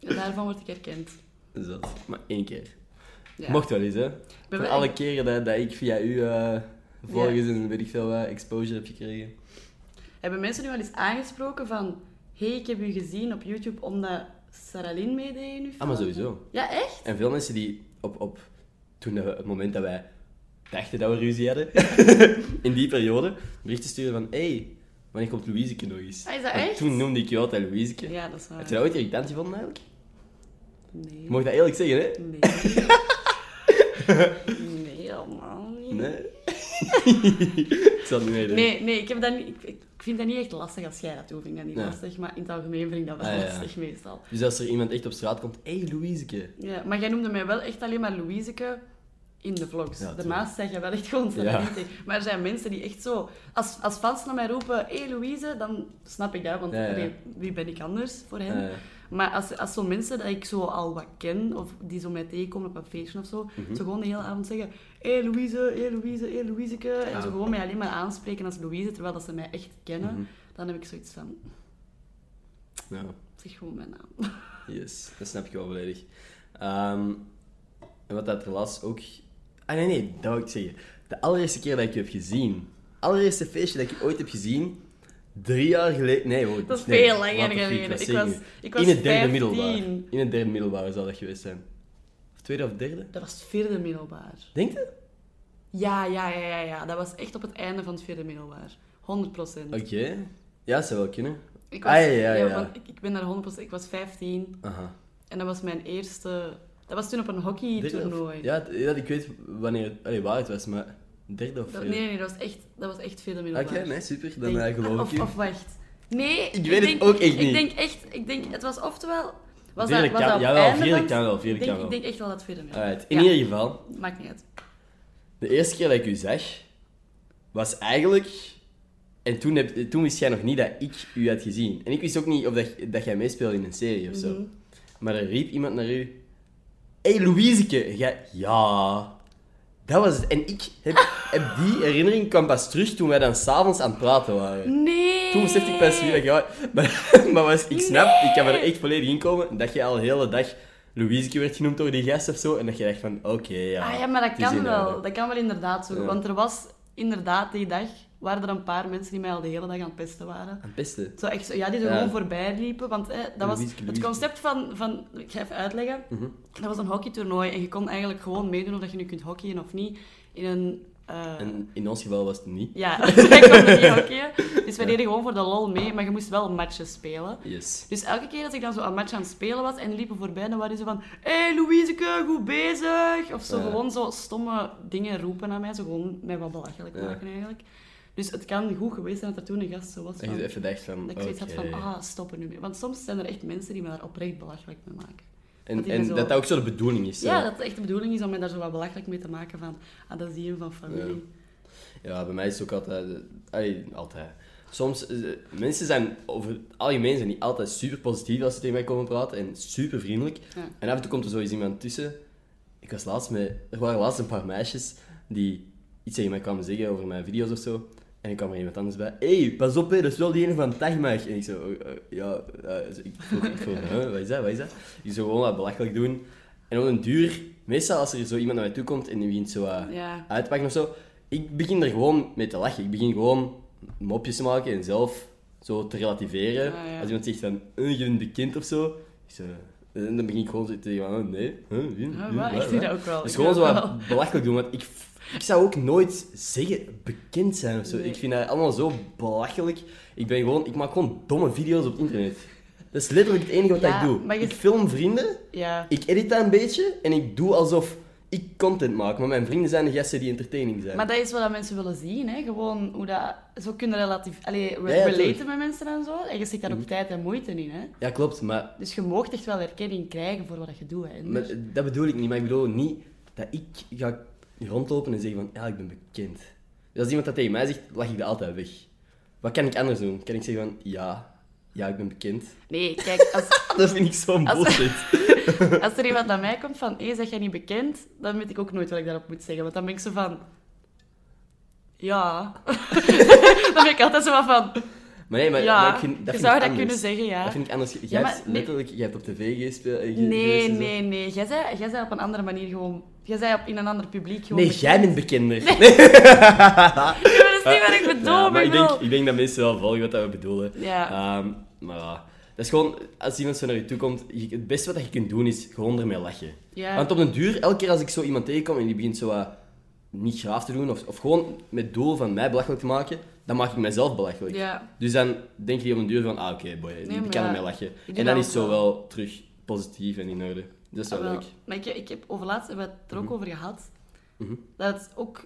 S2: En daarvan word ik herkend.
S1: Zot. Maar één keer.
S2: Ja.
S1: Mocht wel eens, hè?
S2: ben
S1: Voor
S2: wel-
S1: alle keren dat, dat ik via u eh volgers en weet ik veel wat exposure heb gekregen.
S2: Hebben mensen nu wel eens aangesproken van... Hé, hey, ik heb u gezien op YouTube omdat Saralin meedeed in uw film?
S1: Ah, maar sowieso.
S2: Ja, echt?
S1: En veel mensen die op, op toen dat we, het moment dat wij dachten dat we ruzie hadden, in die periode, berichten sturen van hey, wanneer komt Louiseke nog eens?
S2: Ah, is dat
S1: Want
S2: echt?
S1: Toen noemde ik jou altijd Louiseke.
S2: Ja, dat is waar.
S1: Heb je dat ooit irritant gevonden eigenlijk?
S2: Nee.
S1: Je mag dat eerlijk zeggen, hè?
S2: Nee. nee, helemaal niet.
S1: Nee. ik zal het niet meedoen.
S2: Nee, nee ik, heb dat niet, ik, ik vind dat niet echt lastig als jij dat doet, vind ik dat niet
S1: Ja.
S2: lastig. Maar in het algemeen vind ik dat wel
S1: Ah, ja.
S2: lastig meestal.
S1: Dus als er iemand echt op straat komt, hey Louiseke.
S2: Ja, maar jij noemde mij wel echt alleen maar Louiseke in de vlogs.
S1: Ja,
S2: de maas zeg je wel echt gewoon
S1: Ja.
S2: Sarah tegen. Maar er zijn mensen die echt zo... Als, als fans naar mij roepen, hé hey, Louise, dan snap ik dat. Want
S1: Ja, ja.
S2: allee, wie ben ik anders voor hen?
S1: Ja, ja.
S2: Maar als, als zo'n mensen dat ik zo al wat ken, of die zo mij tegenkomen op een feestje of zo,
S1: Mhm.
S2: zo gewoon de hele avond zeggen, hé hey, Louise, hé hey, Louise, hé hey, Louiseke. En
S1: Ah.
S2: ze gewoon mij alleen maar aanspreken als Louise, terwijl dat ze mij echt kennen.
S1: Mhm.
S2: Dan heb ik zoiets van,
S1: Nou,
S2: zeg gewoon mijn naam.
S1: yes, dat snap ik wel volledig. Ehm, en wat dat er laatst ook... Ah nee, nee, dat wil ik zeggen. De allereerste keer dat ik je heb gezien, allereerste feestje dat ik je ooit heb gezien, drie jaar geleden... Nee hoor,
S2: Dat is
S1: nee,
S2: veel langer
S1: what the freak,
S2: geleden.
S1: wat
S2: Ik
S1: zeg
S2: was-
S1: je?
S2: ik was
S1: In het derde
S2: 15.
S1: middelbaar. In het derde middelbaar zou dat geweest zijn. Of tweede of derde?
S2: Dat was het vierde middelbaar.
S1: Denk je?
S2: Ja, ja, ja, ja, ja. Dat was echt op het einde van het vierde middelbaar. 100 procent.
S1: Oké. Ja, zou wel kunnen.
S2: Ik
S1: Ah, ja, ja, ja.
S2: want ik, ik ben daar 100 Ik was 15
S1: Aha.
S2: en dat was mijn eerste. Dat was toen op een
S1: Derde of-
S2: hockeytoernooi.
S1: Ja, het- ja, ik weet wanneer, allee, waar het was, maar derde of
S2: Dat-
S1: vierde?
S2: nee, nee, dat was echt, dat was echt vierde
S1: Oké,
S2: middelbaar.
S1: nee, super. Dan
S2: Denk-
S1: eh, geloof ik
S2: of,
S1: je.
S2: of wacht. Nee,
S1: weet het ook echt niet.
S2: Ik denk echt, ik denk, het was oftewel. Was
S1: Vierde
S2: dat, was
S1: kan-
S2: dat op
S1: jawel,
S2: het einde
S1: vierde
S2: van-
S1: kan wel, vierde
S2: ik denk,
S1: kan wel.
S2: Ik denk echt wel dat het vierde middelbaar.
S1: Alright, in
S2: Ja,
S1: ieder geval,
S2: Maakt niet uit.
S1: de eerste keer dat ik u zag, was eigenlijk... En toen, heb, toen wist jij nog niet dat ik u had gezien. En ik wist ook niet of dat, dat jij meespeelde in een serie of zo. Maar er riep iemand naar u... Hé, hey, Louiseke! Jij... Ja... Dat was het. En ik heb, heb die herinnering kwam pas terug toen wij dan s'avonds aan het praten waren.
S2: Nee!
S1: Toen besefte ik pas wie dat jij... Maar, maar was, ik snap, ik kan er echt volledig in komen, dat je al de hele dag Louiseke werd genoemd door die gast of zo. En dat je dacht van, oké, ja.
S2: Ah ja, maar dat
S1: het is
S2: kan
S1: in
S2: wel.
S1: orde.
S2: Dat kan wel inderdaad zo.
S1: Ja.
S2: Want er was inderdaad die dag, waren er een paar mensen die mij al de hele dag aan het pesten waren.
S1: Aan het pesten.
S2: Zo echt, zo- ja, die er
S1: Ja.
S2: gewoon voorbij liepen. Want eh, dat was
S1: Louiske,
S2: het
S1: Louiske.
S2: concept van, van... Ik ga even uitleggen. Dat was een hockeytoernooi en je kon eigenlijk gewoon meedoen of dat je nu kunt hockeyen of niet. In een... eh,
S1: En in ons geval was het niet.
S2: Ja, ik kon er niet hockeyen. Dus wij deden gewoon voor de lol mee, maar je moest wel matches spelen.
S1: Yes.
S2: Dus elke keer als ik dan zo een match aan het spelen was en liepen voorbij, dan waren ze van Hé hey, Louiseke, goed bezig! Of zo
S1: Ja.
S2: gewoon zo stomme dingen roepen aan mij, zo gewoon mij wat belachelijk
S1: Ja.
S2: maken eigenlijk. Dus het kan goed geweest zijn dat er toen een gast zo was
S1: En
S2: van,
S1: je even dacht van,
S2: dat Oh. ik
S1: oké.
S2: zoiets had van, ah, stop er nu mee. Want soms zijn er echt mensen die me daar oprecht belachelijk mee maken.
S1: en
S2: dat die
S1: en
S2: zo-
S1: dat dat ook zo de bedoeling is. eh.
S2: Ja,
S1: hè.
S2: dat het echt de bedoeling is om mij daar zo wat belachelijk mee te maken van, ah, dat is die een van familie.
S1: Ja, bij mij is het ook altijd... eh, allee, altijd. Soms... eh, mensen zijn over het algemeen zijn niet altijd super positief als ze tegen mij komen praten. En super vriendelijk.
S2: Ja.
S1: En af en toe komt er zoiets iemand tussen. Ik was laatst met... Er waren laatst een paar meisjes die iets tegen mij kwamen zeggen over mijn video's of zo. En ik kwam er iemand anders bij. Hé, hey, pas op, hè, dat is wel die ene van Tagmag. En ik zo, eh, eh, ja, eh, ik voel, ik voel huh, wat is dat, wat is dat? Ik zou gewoon wat belachelijk doen. En op een duur, meestal als er zo iemand naar mij toe komt en die begint zo eh, wat
S2: Ja.
S1: uitpakken of zo, ik begin er gewoon mee te lachen. Ik begin gewoon mopjes te maken en zelf zo te relativeren.
S2: Ah, ja.
S1: Als iemand zegt van, eh, je bent bekend of zo, ik zo, en dan begin ik gewoon zo te zeggen van, oh, nee, huh, wie,
S2: Ah,
S1: wie,
S2: waar?
S1: waar,
S2: Ik zie
S1: waar?
S2: dat ook wel.
S1: Dus
S2: Ik
S1: gewoon zo
S2: doe dat
S1: wat
S2: wel.
S1: belachelijk doen, want ik, ik zou ook nooit zeggen bekend zijn of zo.
S2: Nee.
S1: Ik vind dat allemaal zo belachelijk. Ik ben gewoon, ik maak gewoon domme video's op het internet. Dat is letterlijk het enige wat
S2: Ja,
S1: ik doe.
S2: maar je-
S1: Ik film vrienden,
S2: Ja.
S1: ik edit dat een beetje en ik doe alsof ik content maak. Maar mijn vrienden zijn de gasten die entertaining zijn.
S2: Maar dat is wat mensen willen zien, hè? Gewoon hoe dat... Zo kunnen relatief... Allee, re-
S1: Ja, ja,
S2: relaten
S1: tuurlijk. Mhm.
S2: met mensen en zo. En je zit daar ook tijd en moeite in, hè?
S1: Ja, klopt, maar
S2: Dus je mag echt wel erkenning krijgen voor wat je doet, hè? Dus-
S1: Maar dat bedoel ik niet, maar ik bedoel niet dat ik ga rondlopen en zeggen van ja, ik ben bekend. Dus als iemand dat tegen mij zegt, lag ik dat altijd weg. Wat kan ik anders doen? Kan ik zeggen van ja, ja, ik ben bekend.
S2: Nee, kijk, als...
S1: Dat vind ik zo'n
S2: Als-
S1: bullshit.
S2: Als er iemand naar mij komt van, hé, zeg jij niet bekend? Dan weet ik ook nooit wat ik daarop moet zeggen. Want dan ben ik zo van... Ja. dan ben ik altijd zo wat van...
S1: Maar nee, maar,
S2: Ja,
S1: maar ik vind- dat
S2: je
S1: vind
S2: zou
S1: ik
S2: dat
S1: anders.
S2: kunnen zeggen, ja.
S1: Dat vind ik anders. Jij
S2: Ja, maar
S1: hebt
S2: nee.
S1: letterlijk, jij hebt op tv gespeeld. eh, ge-
S2: Nee,
S1: geweest en zo.
S2: nee, nee. Jij zei, jij zei op een andere manier gewoon... Jij zei op, in een ander publiek gewoon...
S1: Nee,
S2: bekend.
S1: jij bent bekender.
S2: Ja, maar dat is niet wat ik bedoel,
S1: Ja, maar
S2: ik
S1: ik denk,
S2: wil-
S1: ik denk dat mensen wel volgen wat dat we bedoelen.
S2: Ja.
S1: Ehm, maar ja, dat is gewoon, als iemand zo naar je toe komt, je- het beste wat je kunt doen is gewoon ermee lachen.
S2: Ja.
S1: Want op den duur, elke keer als ik zo iemand tegenkom en die begint zo wat niet graaf te doen, of, of gewoon met doel van mij belachelijk te maken, dan maak ik mezelf belachelijk.
S2: Ja.
S1: Dus dan denk je op den duur van, ah oké, boy, die
S2: maar
S1: kan
S2: ja,
S1: ermee lachen.
S2: ik doe
S1: En
S2: dat
S1: dan is
S2: ook
S1: zo
S2: wel.
S1: wel terug positief en in orde. Dat is wel
S2: Ah, wel.
S1: leuk. Mhm.
S2: Maar ik, ik heb overlaatst, we hebben het er ook over gehad, dat het ook...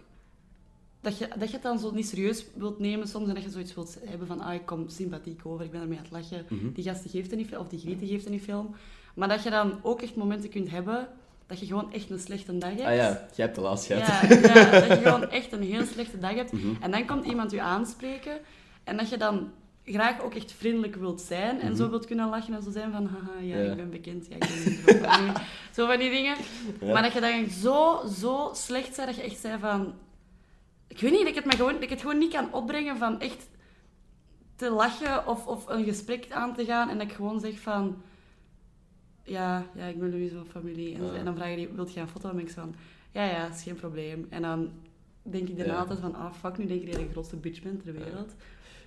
S2: Dat je, dat je het dan zo niet serieus wilt nemen soms en dat je zoiets wilt hebben van ah, ik kom sympathiek over, ik ben ermee aan het lachen,
S1: Mhm.
S2: die gast die geeft er niet veel, of die griet die geeft er niet veel. Maar dat je dan ook echt momenten kunt hebben dat je gewoon echt een slechte dag hebt.
S1: Ah ja, jij hebt de laatste gehad.
S2: Ja, Mhm. ja, dat je gewoon echt een heel slechte dag hebt. En dan komt iemand je aanspreken. En dat je dan graag ook echt vriendelijk wilt zijn. En zo wilt kunnen lachen en zo zijn van... Haha, Mhm. ja,
S1: Ja.
S2: ik ben bekend. Ja, ik ben niet dronken. Zo van die dingen. Maar dat je dan zo, zo slecht zei dat je echt zei van... Ik weet niet, dat ik het, me gewoon, dat ik het gewoon niet kan opbrengen van echt te lachen of, of een gesprek aan te gaan. En dat ik gewoon zeg van... Ja, ja, ik ben Louise van familie. En,
S1: Ja.
S2: en dan vragen die, wilt je een foto? En ben ik zo van, ja, ja, is geen probleem. En dan denk ik daarna
S1: Ja.
S2: altijd van, ah, fuck, nu denk ik dat je de grootste bitch bent ter wereld.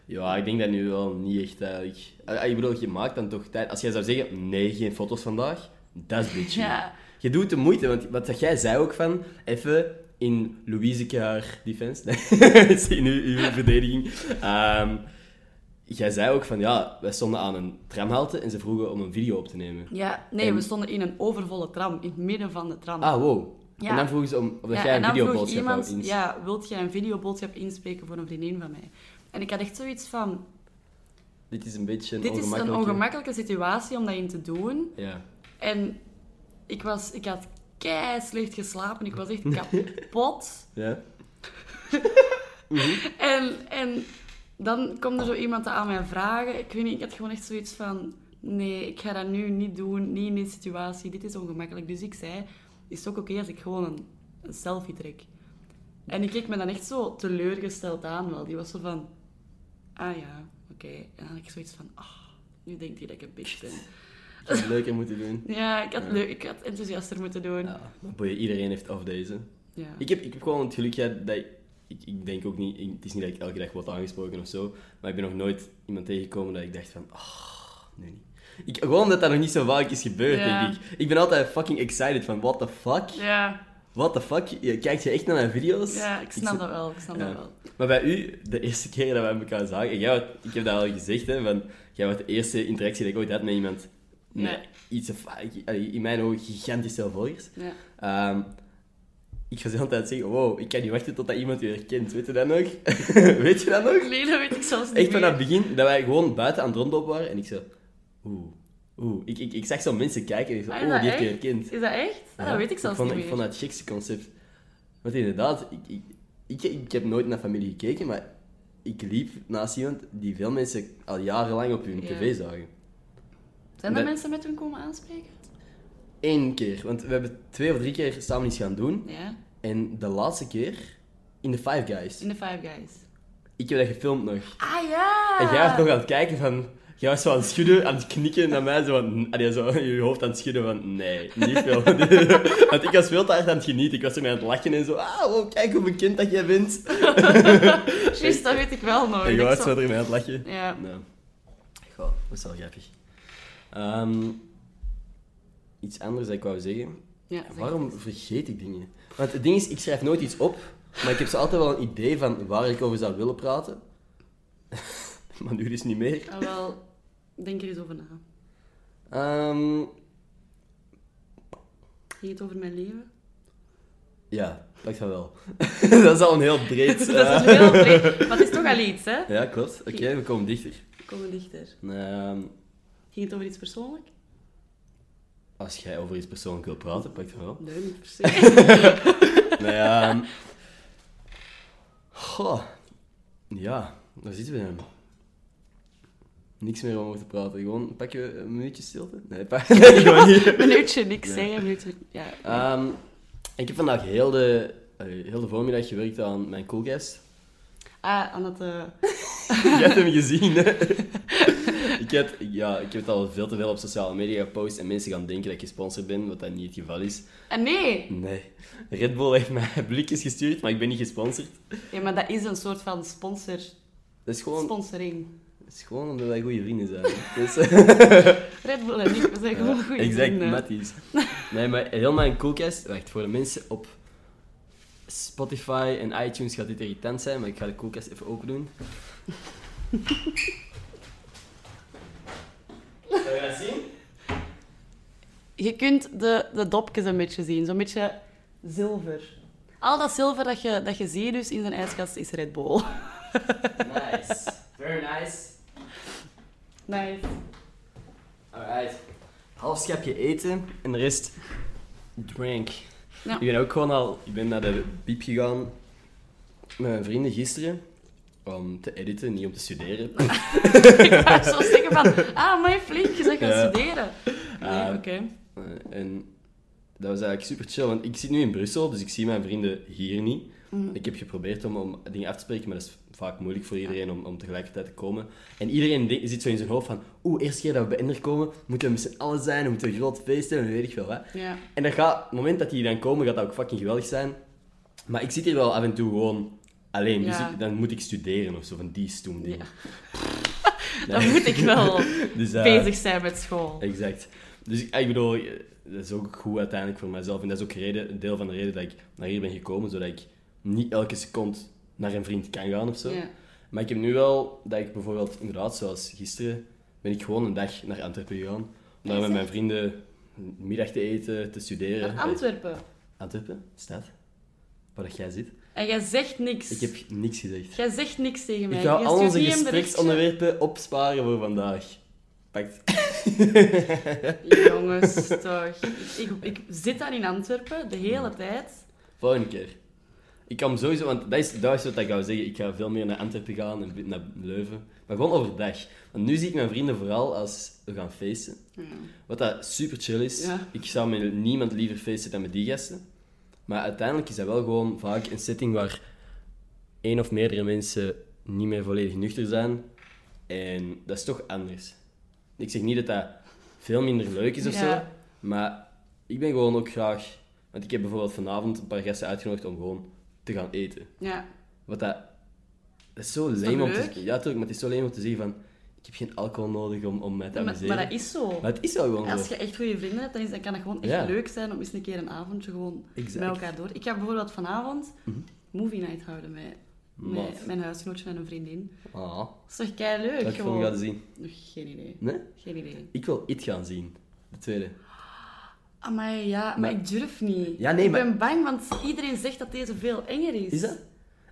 S1: Ja, ik denk dat nu wel niet echt eigenlijk. Ah, Ik bedoel, je maakt dan toch tijd. Als jij zou zeggen, nee, geen foto's vandaag, dat is bitchy.
S2: Ja.
S1: Je doet de moeite, want wat dat jij zei ook van, even in Louise haar defense, nee, in uw, uw verdediging. Ehm, jij zei ook van, ja, wij stonden aan een tramhalte en ze vroegen om een video op te nemen.
S2: Ja, nee,
S1: En-
S2: we stonden in een overvolle tram, in het midden van de tram.
S1: Ah, wow.
S2: Ja.
S1: En dan vroegen ze om, of dat
S2: ja,
S1: jij
S2: en
S1: een
S2: dan vroeg
S1: videoboodschap
S2: iemand,
S1: wou ins-
S2: ja, wilt jij een videoboodschap inspreken voor een vriendin van mij? En ik had echt zoiets van,
S1: Dit is een beetje een
S2: dit is een
S1: ongemakkelijke...
S2: ongemakkelijke situatie om dat in te doen.
S1: Ja.
S2: En ik, was, ik had kei slecht geslapen. Ik was echt kapot.
S1: Ja?
S2: En, en dan komt er zo iemand aan mij vragen. Ik weet niet, ik had gewoon echt zoiets van... Nee, ik ga dat nu niet doen. Niet in deze situatie. Dit is ongemakkelijk. Dus ik zei, is het ook oké als ik gewoon een, een selfie trek? En ik keek me dan echt zo teleurgesteld aan wel. Die was zo van... Ah ja, oké. En dan had ik zoiets van... ah, nu denkt hij dat ik een bitch ben.
S1: Ik had het leuker moeten doen.
S2: Ja, ik had, leuk, ik had enthousiaster moeten doen.
S1: Ja, maar boeien, iedereen heeft af deze.
S2: Ja.
S1: Ik heb, ik heb gewoon het geluk gehad dat ik, ik, ik denk ook niet, ik- het is niet dat ik elke dag word aangesproken of zo, maar ik ben nog nooit iemand tegengekomen dat ik dacht van, ah, nee niet. Ik, gewoon omdat dat nog niet zo vaak is gebeurd,
S2: Ja.
S1: denk ik. Ik ben altijd fucking excited van, what the fuck?
S2: Ja,
S1: What the fuck? Je, kijkt je echt naar mijn video's?
S2: ja, ik snap
S1: zit-
S2: dat wel. Ik snap
S1: Ja.
S2: dat wel.
S1: Maar bij u, de eerste keer dat we elkaar zagen, en jij, werd- ik heb dat al gezegd, hè, van, jij was de eerste interactie dat ik ooit had met iemand. met
S2: Nee.
S1: Iets of, allee, in mijn ogen gigantisch veel volgers.
S2: Ja.
S1: Ehm, ik was de hele tijd zeggen, wow, ik kan niet wachten tot dat iemand je herkent. Weet je dat nog? Weet je dat nog?
S2: Nee, dat weet ik zelfs niet
S1: Echt
S2: meer.
S1: vanaf het begin, dat wij gewoon buiten aan het rondlopen waren en ik zo, oeh, oeh. Ik, ik, ik zag zo mensen kijken en ik zo,
S2: Ah,
S1: oh,
S2: is
S1: die
S2: dat
S1: heeft je
S2: echt?
S1: herkend.
S2: Is dat echt? Ah,
S1: Ja,
S2: dat weet ik zelfs
S1: vond,
S2: niet
S1: Ik
S2: meer.
S1: vond dat het chicste concept. Want inderdaad, ik, ik, ik, ik heb nooit naar familie gekeken, maar ik liep naast iemand die veel mensen al jarenlang op hun
S2: Ja.
S1: tv zagen.
S2: Zijn er
S1: Nee.
S2: mensen met hun komen aanspreken?
S1: Eén keer, want we hebben twee of drie keer samen iets gaan doen.
S2: Ja,
S1: En de laatste keer, in de Five Guys.
S2: in de Five Guys.
S1: Ik heb dat gefilmd nog.
S2: Ah ja!
S1: En jij was nog aan het kijken van... Jij was zo aan het schudden, aan het knikken naar mij. Zo van, allee, zo je hoofd aan het schudden van... Nee, niet veel. Want ik was veel te hard aan het genieten. Ik was ermee aan het lachen en zo... Ah, wow, kijk hoe bekend dat jij bent.
S2: Oh, Ah, Juist, dat weet ik wel nog.
S1: En
S2: Ik
S1: jij was
S2: zal-
S1: zo ermee aan het lachen.
S2: Ja.
S1: Nou. Goh, dat is wel grappig. Ehm, iets anders dat ik wou zeggen.
S2: ja zeg.
S1: Waarom vergeet ik dingen? Want het ding is, ik schrijf nooit iets op, maar ik heb zo altijd wel een idee van waar ik over zou willen praten. maar nu dus niet meer.
S2: Ah, wel, denk er eens over na.
S1: Ehm,
S2: Ging het over mijn leven?
S1: ja, ik van wel. dat is al een heel breed...
S2: Dat
S1: eh,
S2: is heel breed, maar het is toch al iets, hè?
S1: Ja, klopt. Oké, we komen dichter.
S2: We komen dichter.
S1: Ehm,
S2: Ging het over iets persoonlijk?
S1: als jij over iets persoonlijk wil praten, pak het wel.
S2: Nee, niet per se.
S1: Nee, ehm, goh. Ja, daar zitten we hem. Niks meer om over te praten. Gewoon, pak je een minuutje stilte? Nee, pak... nee gewoon niet.
S2: Een minuutje niks
S1: Ja.
S2: zeggen, een minuutje... Ja.
S1: Ehm, ik heb vandaag heel de, eh, heel de voormiddag gewerkt aan mijn koelkast.
S2: Ah, aan het... eh,
S1: Je hebt hem gezien, hè? ik, heb, ja, ik heb het al veel te veel op sociale media gepost en mensen gaan denken dat ik gesponsord ben, wat dat niet het geval is.
S2: Ah, nee!
S1: Nee. Red Bull heeft mij blikjes gestuurd, maar ik ben niet gesponsord.
S2: Ja, maar dat is een soort van sponsor...
S1: Dat is gewoon,
S2: sponsoring.
S1: dat is gewoon omdat wij goede vrienden zijn. Dus,
S2: Red Bull en ik, we zijn gewoon
S1: Ja,
S2: goede
S1: Exact,
S2: vrienden.
S1: matties. Nee, maar heel mijn koelkast... Wacht, voor de mensen op Spotify en iTunes gaat dit irritant zijn, maar ik ga de koelkast even open doen. Zou je dat zien?
S2: Je kunt de, de dopjes een beetje zien, zo'n beetje zilver. Al dat zilver dat je, dat je ziet dus in zijn ijskast is Red Bull.
S1: Nice. Very nice.
S2: Nice.
S1: Alright. Half schepje eten en de rest drink.
S2: Ja.
S1: Ik ben ook gewoon al ik ben naar de piep gegaan met mijn vrienden gisteren om te editen, niet om te studeren.
S2: ik ga zo zeggen van, ah, maar flink, je bent gaan
S1: Ja.
S2: studeren. Nee,
S1: Ah.
S2: oké.
S1: Eh, en dat was eigenlijk super chill, want ik zit nu in Brussel, dus ik zie mijn vrienden hier niet.
S2: Mm.
S1: Ik heb geprobeerd om, om dingen af te spreken, maar dat is vaak moeilijk voor iedereen om, om tegelijkertijd te komen. En iedereen de- zit zo in zijn hoofd van, oeh, eerste keer dat we bij Ender komen, moeten we met z'n allen zijn, we moeten een groot feest hebben, en weet ik veel wat.
S2: Ja.
S1: En dat gaat, op het moment dat die dan komen, gaat dat ook fucking geweldig zijn. Maar ik zit hier wel af en toe gewoon alleen, dus
S2: Ja.
S1: ik- dan moet ik studeren of zo, van die stoem dingen.
S2: Dan moet ik wel
S1: Dus, eh,
S2: bezig zijn met school.
S1: Exact. Dus ik, ik bedoel, eh, dat is ook goed uiteindelijk voor mezelf. En dat is ook reden, een deel van de reden dat ik naar hier ben gekomen, zodat ik niet elke seconde naar een vriend kan gaan of zo.
S2: Ja.
S1: Maar ik heb nu wel dat ik bijvoorbeeld, inderdaad, zoals gisteren, ben ik gewoon een dag naar Antwerpen gegaan. Om daar
S2: Is
S1: met
S2: het?
S1: mijn vrienden een middag te eten, te studeren.
S2: Naar Antwerpen.
S1: Eh, Antwerpen, stad. Waar dat jij zit.
S2: En jij zegt niks.
S1: Ik heb niks gezegd.
S2: Jij zegt niks tegen mij.
S1: Ik ga
S2: Jij
S1: al
S2: stuurt
S1: onze
S2: niet een berichtje.
S1: gespreksonderwerpen opsparen voor vandaag. Pakt.
S2: Jongens, toch. Ik, ik, ik zit daar in Antwerpen de hele tijd.
S1: Volgende keer. Ik kan sowieso, want dat is, dat is wat ik wou zeggen. Ik ga veel meer naar Antwerpen gaan en bi- naar Leuven. Maar gewoon overdag. Want nu zie ik mijn vrienden vooral als we gaan feesten. Wat dat super chill is.
S2: Ja.
S1: Ik zou met niemand liever feesten dan met die gasten. Maar uiteindelijk is dat wel gewoon vaak een setting waar één of meerdere mensen niet meer volledig nuchter zijn. En dat is toch anders. Ik zeg niet dat dat veel minder leuk is of
S2: Ja.
S1: zo. Maar ik ben gewoon ook graag... Want ik heb bijvoorbeeld vanavond een paar gasten uitgenodigd om gewoon te gaan eten.
S2: Ja.
S1: Wat dat... Dat is zo
S2: toch
S1: leem om te
S2: leuk?
S1: zeggen. Ja, tuurlijk, maar het is zo leem om te zeggen van... Ik heb geen alcohol nodig om, om mij te
S2: Maar,
S1: amuseren.
S2: maar dat is zo.
S1: Maar het is wel gewoon
S2: Als
S1: zo.
S2: je echt goede vrienden hebt, dan, is, dan kan het gewoon echt
S1: Ja.
S2: leuk zijn om eens een keer een avondje gewoon
S1: Exact. Mhm.
S2: met elkaar door. Ik ga bijvoorbeeld vanavond movie night houden met,
S1: Maf.
S2: met mijn huisgenootje en een vriendin.
S1: Ah,
S2: Dat is toch kei leuk?
S1: dat ik voor gaan zien.
S2: Geen idee.
S1: Nee?
S2: Geen idee.
S1: Ik wil It gaan zien. De tweede.
S2: Amai, ja, maar,
S1: Maar-
S2: ik durf niet.
S1: Ja, nee,
S2: ik
S1: maar-
S2: ben bang, want iedereen zegt dat deze veel enger is.
S1: Is dat?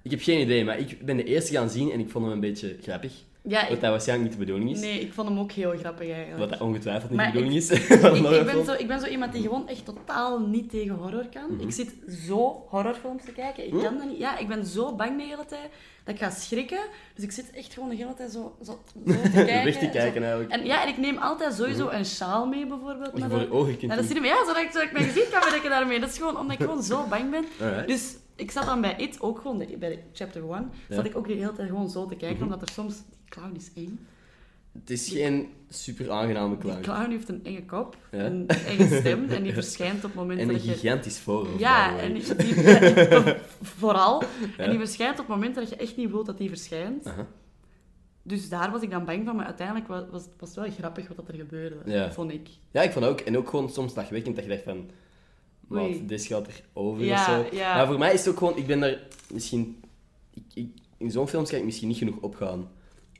S1: Ik heb geen idee, maar ik ben de eerste gaan zien en ik vond hem een beetje grappig.
S2: Ja,
S1: Wat
S2: ik,
S1: dat waarschijnlijk niet de bedoeling is.
S2: nee, ik vond hem ook heel grappig eigenlijk.
S1: Wat dat ongetwijfeld niet
S2: Maar
S1: de bedoeling is.
S2: Ik, ik, ben zo, ik ben zo iemand die gewoon echt totaal niet tegen horror kan.
S1: Mhm.
S2: Ik zit zo horrorfilms te kijken. Ik kan dat niet. Ja, ik ben zo bang de hele tijd dat ik ga schrikken. Dus ik zit echt gewoon de hele tijd zo, zo, zo te kijken.
S1: Weg te kijken
S2: Zo.
S1: eigenlijk.
S2: En ja, en ik neem altijd sowieso een sjaal mee bijvoorbeeld.
S1: je
S2: naar
S1: voor
S2: de-
S1: je ogen kunt
S2: naar de
S1: doen.
S2: cinema. Ja, zodat ik, zodat ik mijn gezicht kan bedekken daarmee. Dat is gewoon omdat ik gewoon zo bang ben.
S1: Alright.
S2: Dus ik zat dan bij It, ook gewoon de- bij de chapter 1, zat
S1: Ja. Mhm.
S2: ik ook de hele tijd gewoon zo te kijken. Omdat er soms... Die clown is eng.
S1: Het is geen super aangename clown.
S2: Die clown heeft een enge kop,
S1: Ja.
S2: een enge stem en die verschijnt op het moment
S1: En een
S2: dat je...
S1: gigantisch voorhoofd. by
S2: Ja,
S1: the way.
S2: en die, die- vooral.
S1: Ja.
S2: En die verschijnt op het moment dat je echt niet wilt dat die verschijnt.
S1: Aha.
S2: Dus daar was ik dan bang van, maar uiteindelijk wa- was, was het wel grappig wat dat er gebeurde,
S1: Ja.
S2: vond ik.
S1: Ja, ik vond dat ook. En ook gewoon soms dagwekkend dat je dacht van...
S2: Oei.
S1: Wat, dit gaat er over
S2: Ja,
S1: of zo.
S2: ja.
S1: Maar voor mij is het ook gewoon... Ik ben daar misschien...
S2: Mm.
S1: Ik, ik, in zo'n films kan ik misschien niet genoeg opgaan.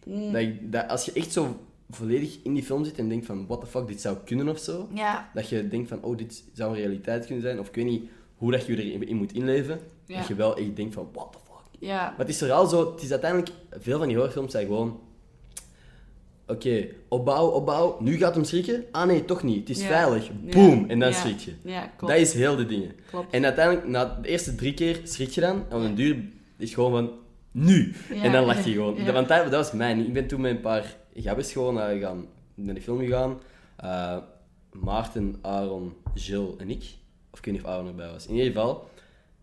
S1: Dat ik, dat, als je echt zo volledig in die film zit en denkt van, what the fuck, dit zou kunnen of zo.
S2: Ja.
S1: Dat je denkt van, oh, dit zou een realiteit kunnen zijn. Of ik weet niet hoe dat je erin in moet inleven.
S2: Ja.
S1: Dat je wel echt denkt van, what the fuck.
S2: Ja.
S1: Maar het is er al zo, het is uiteindelijk, veel van die horrorfilms zijn gewoon. Oké, opbouw, opbouw, nu gaat hem schrikken. Ah nee, toch niet. Het is
S2: Ja.
S1: veilig.
S2: Ja.
S1: Boom, en dan
S2: Ja.
S1: schrik je.
S2: Ja, klopt.
S1: Dat is heel de dingen.
S2: Klopt.
S1: En uiteindelijk, na de eerste drie keer schrik je dan. En op een duur is het gewoon van, nu.
S2: Ja.
S1: En dan lach je gewoon.
S2: Ja.
S1: Want dat, dat was mijn. Ik ben toen met een paar gabbers gewoon naar, gaan, naar die film gegaan. Eh, Maarten, Aaron, Jill en ik. Of ik weet niet of Aaron erbij was. In ieder geval.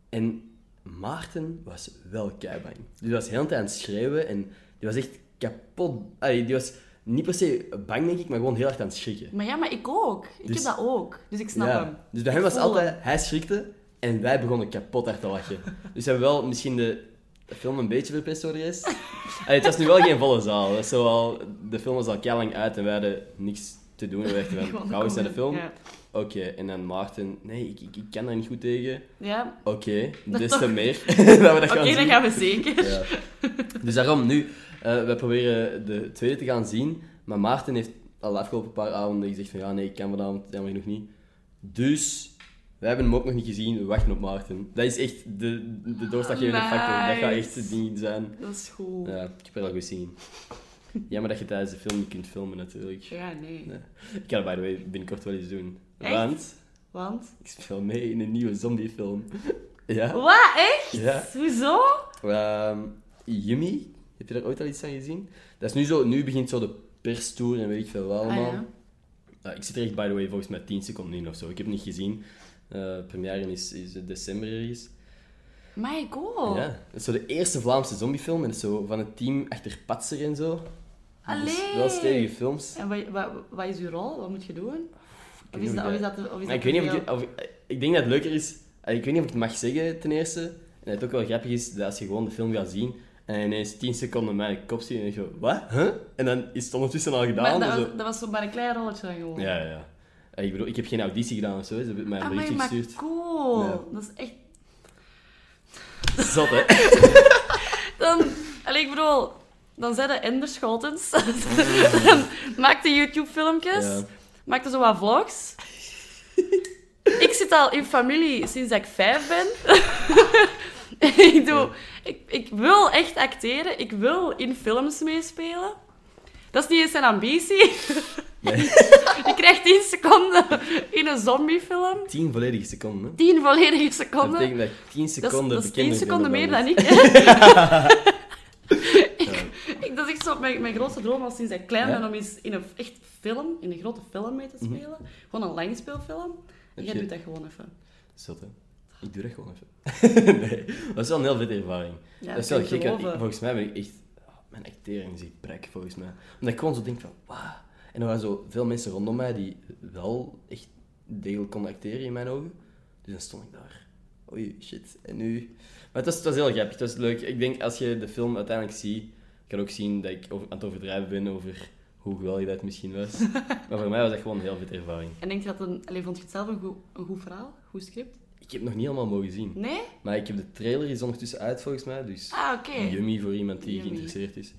S1: En Maarten was wel keibang. Die was heel de tijd aan het schreeuwen en die was echt kapot. Allee, die was niet per se bang, denk ik, maar gewoon heel erg aan het schrikken.
S2: Maar ja, maar ik ook. Ik
S1: Dus-
S2: heb dat ook. Dus ik snap hem.
S1: Dus bij hem was
S2: voel
S1: altijd, hij schrikte en wij begonnen kapot hard te lachen. dus we hebben wel misschien de, de film een beetje verpest door de rest. Allee, het was nu wel geen volle zaal. Dat is zo al, de film was al lang uit en wij hadden niks te doen. We dachten
S2: Gewoon
S1: van, gaan we eens naar de film?
S2: komen. Ja.
S1: Oké, en dan Maarten, nee, ik, ik, ik kan daar niet goed tegen.
S2: Ja.
S1: Oké,
S2: Dat
S1: des
S2: toch-
S1: te meer. dat we dat
S2: Oké,
S1: gaan zien.
S2: dan gaan we zeker.
S1: Ja. Dus daarom nu, eh we proberen de tweede te gaan zien. Maar Maarten heeft al de afgelopen paar avonden gezegd van ja, nee, ik kan vanavond jammer genoeg niet. Dus wij hebben hem ook nog niet gezien, we wachten op Maarten. Dat is echt de, de doorslaggevende
S2: Ah, Nice.
S1: factor. Dat gaat echt het ding zijn.
S2: Dat is goed. Ja,
S1: Ja, ik heb er al goed zin in. Jammer dat je tijdens de film niet kunt filmen natuurlijk.
S2: nee.
S1: Nee. Ik ga dat by the way binnenkort wel eens doen.
S2: Echt?
S1: Want
S2: Want?
S1: ik speel mee in een nieuwe zombiefilm. ja?
S2: Wat? Echt?
S1: Ja.
S2: Hoezo?
S1: Ehm Yummy, heb je daar ooit al iets aan gezien? Dat is nu zo, nu begint zo de perstour en weet ik veel wel allemaal.
S2: Ah, ja.
S1: Eh, ik zit er echt, by the way, volgens mij 10 seconden in of zo. Ik heb het niet gezien. Eh première is, is in december ergens.
S2: Maar ik ook.
S1: Ja, dat is zo de eerste Vlaamse zombiefilm en zo van het team achter Patser en zo. Dus
S2: Allee.
S1: wel stevige films.
S2: En wat, wat, wat is uw rol? Wat moet je doen? Of is
S1: niet
S2: dat,
S1: of
S2: of
S1: ik
S2: is dat, te- of is
S1: Maar
S2: dat
S1: ik weet niet of
S2: te
S1: ik, of ik- ik denk dat het leuker is. eh, Ik weet niet of ik het mag zeggen ten eerste. En dat het ook wel grappig is dat als je gewoon de film gaat zien en ineens 10 seconden mijn kop ziet en je zo, wat? Huh? En dan is het ondertussen al
S2: veel?
S1: gedaan.
S2: Maar dat,
S1: dus
S2: was, dat was zo maar een klein rolletje dan gewoon.
S1: zo- Ja, ja, ja. Eh, Ik bedoel, ik heb geen auditie gedaan of zo. Ze hebben mij een
S2: Amai,
S1: berichtje
S2: Ah, maar
S1: gestuurd.
S2: cool.
S1: Ja.
S2: Dat is echt...
S1: Zot, hè?
S2: Dan... Allee, ik bedoel... Dan zijn de Ender Scholtens. Maakte YouTube-filmpjes.
S1: Ja.
S2: Maakte zo wat vlogs. ik zit al in familie sinds dat ik vijf ben. ik, doe,
S1: Ja.
S2: ik, ik wil echt acteren. Ik wil in films meespelen. Dat is niet eens een ambitie. je krijgt 10 seconden in een zombiefilm.
S1: 10 volledige seconden, hè?
S2: 10 volledige
S1: Dat
S2: seconden.
S1: betekent dat ik 10
S2: Dat is,
S1: seconden
S2: dat is 10
S1: bekender ben
S2: seconden meer dan
S1: mensen.
S2: ik. ik, ik- dat is echt zo mijn, mijn grootste droom al sinds ik klein
S1: Ja? Mhm.
S2: ben om eens in een f- echt film, in een grote film mee te spelen. Gewoon een langspeelfilm. En
S1: Heb
S2: jij
S1: je-
S2: doet dat gewoon even.
S1: Zot, hè? Ik doe dat gewoon even. nee, dat is wel een heel vette ervaring.
S2: Ja,
S1: dat is
S2: dat
S1: wel
S2: kan
S1: gek, want
S2: ik
S1: ik-
S2: geloven.
S1: volgens mij ben ik echt... oh, mijn actering is echt brek, volgens mij. Omdat ik gewoon zo denk van, wauw. En er waren zo veel mensen rondom mij die wel echt degelijk konden acteren in mijn ogen. Dus dan stond ik daar. Oei, shit. En nu... Maar het was, het was heel grappig, het was leuk. Ik denk, als je de film uiteindelijk ziet, kan ook zien dat ik over, aan het overdrijven ben over hoe geweldig dat misschien was. maar voor mij was dat gewoon een heel vette ervaring.
S2: En denk je dat een... Alleen vond je het zelf een goed, een goed verhaal? Goed script?
S1: Ik heb het nog niet allemaal mogen zien.
S2: Nee?
S1: Maar ik heb de trailer is ondertussen uit volgens mij, dus
S2: Ah, oké.
S1: yummy voor iemand die
S2: Yummy.
S1: geïnteresseerd is.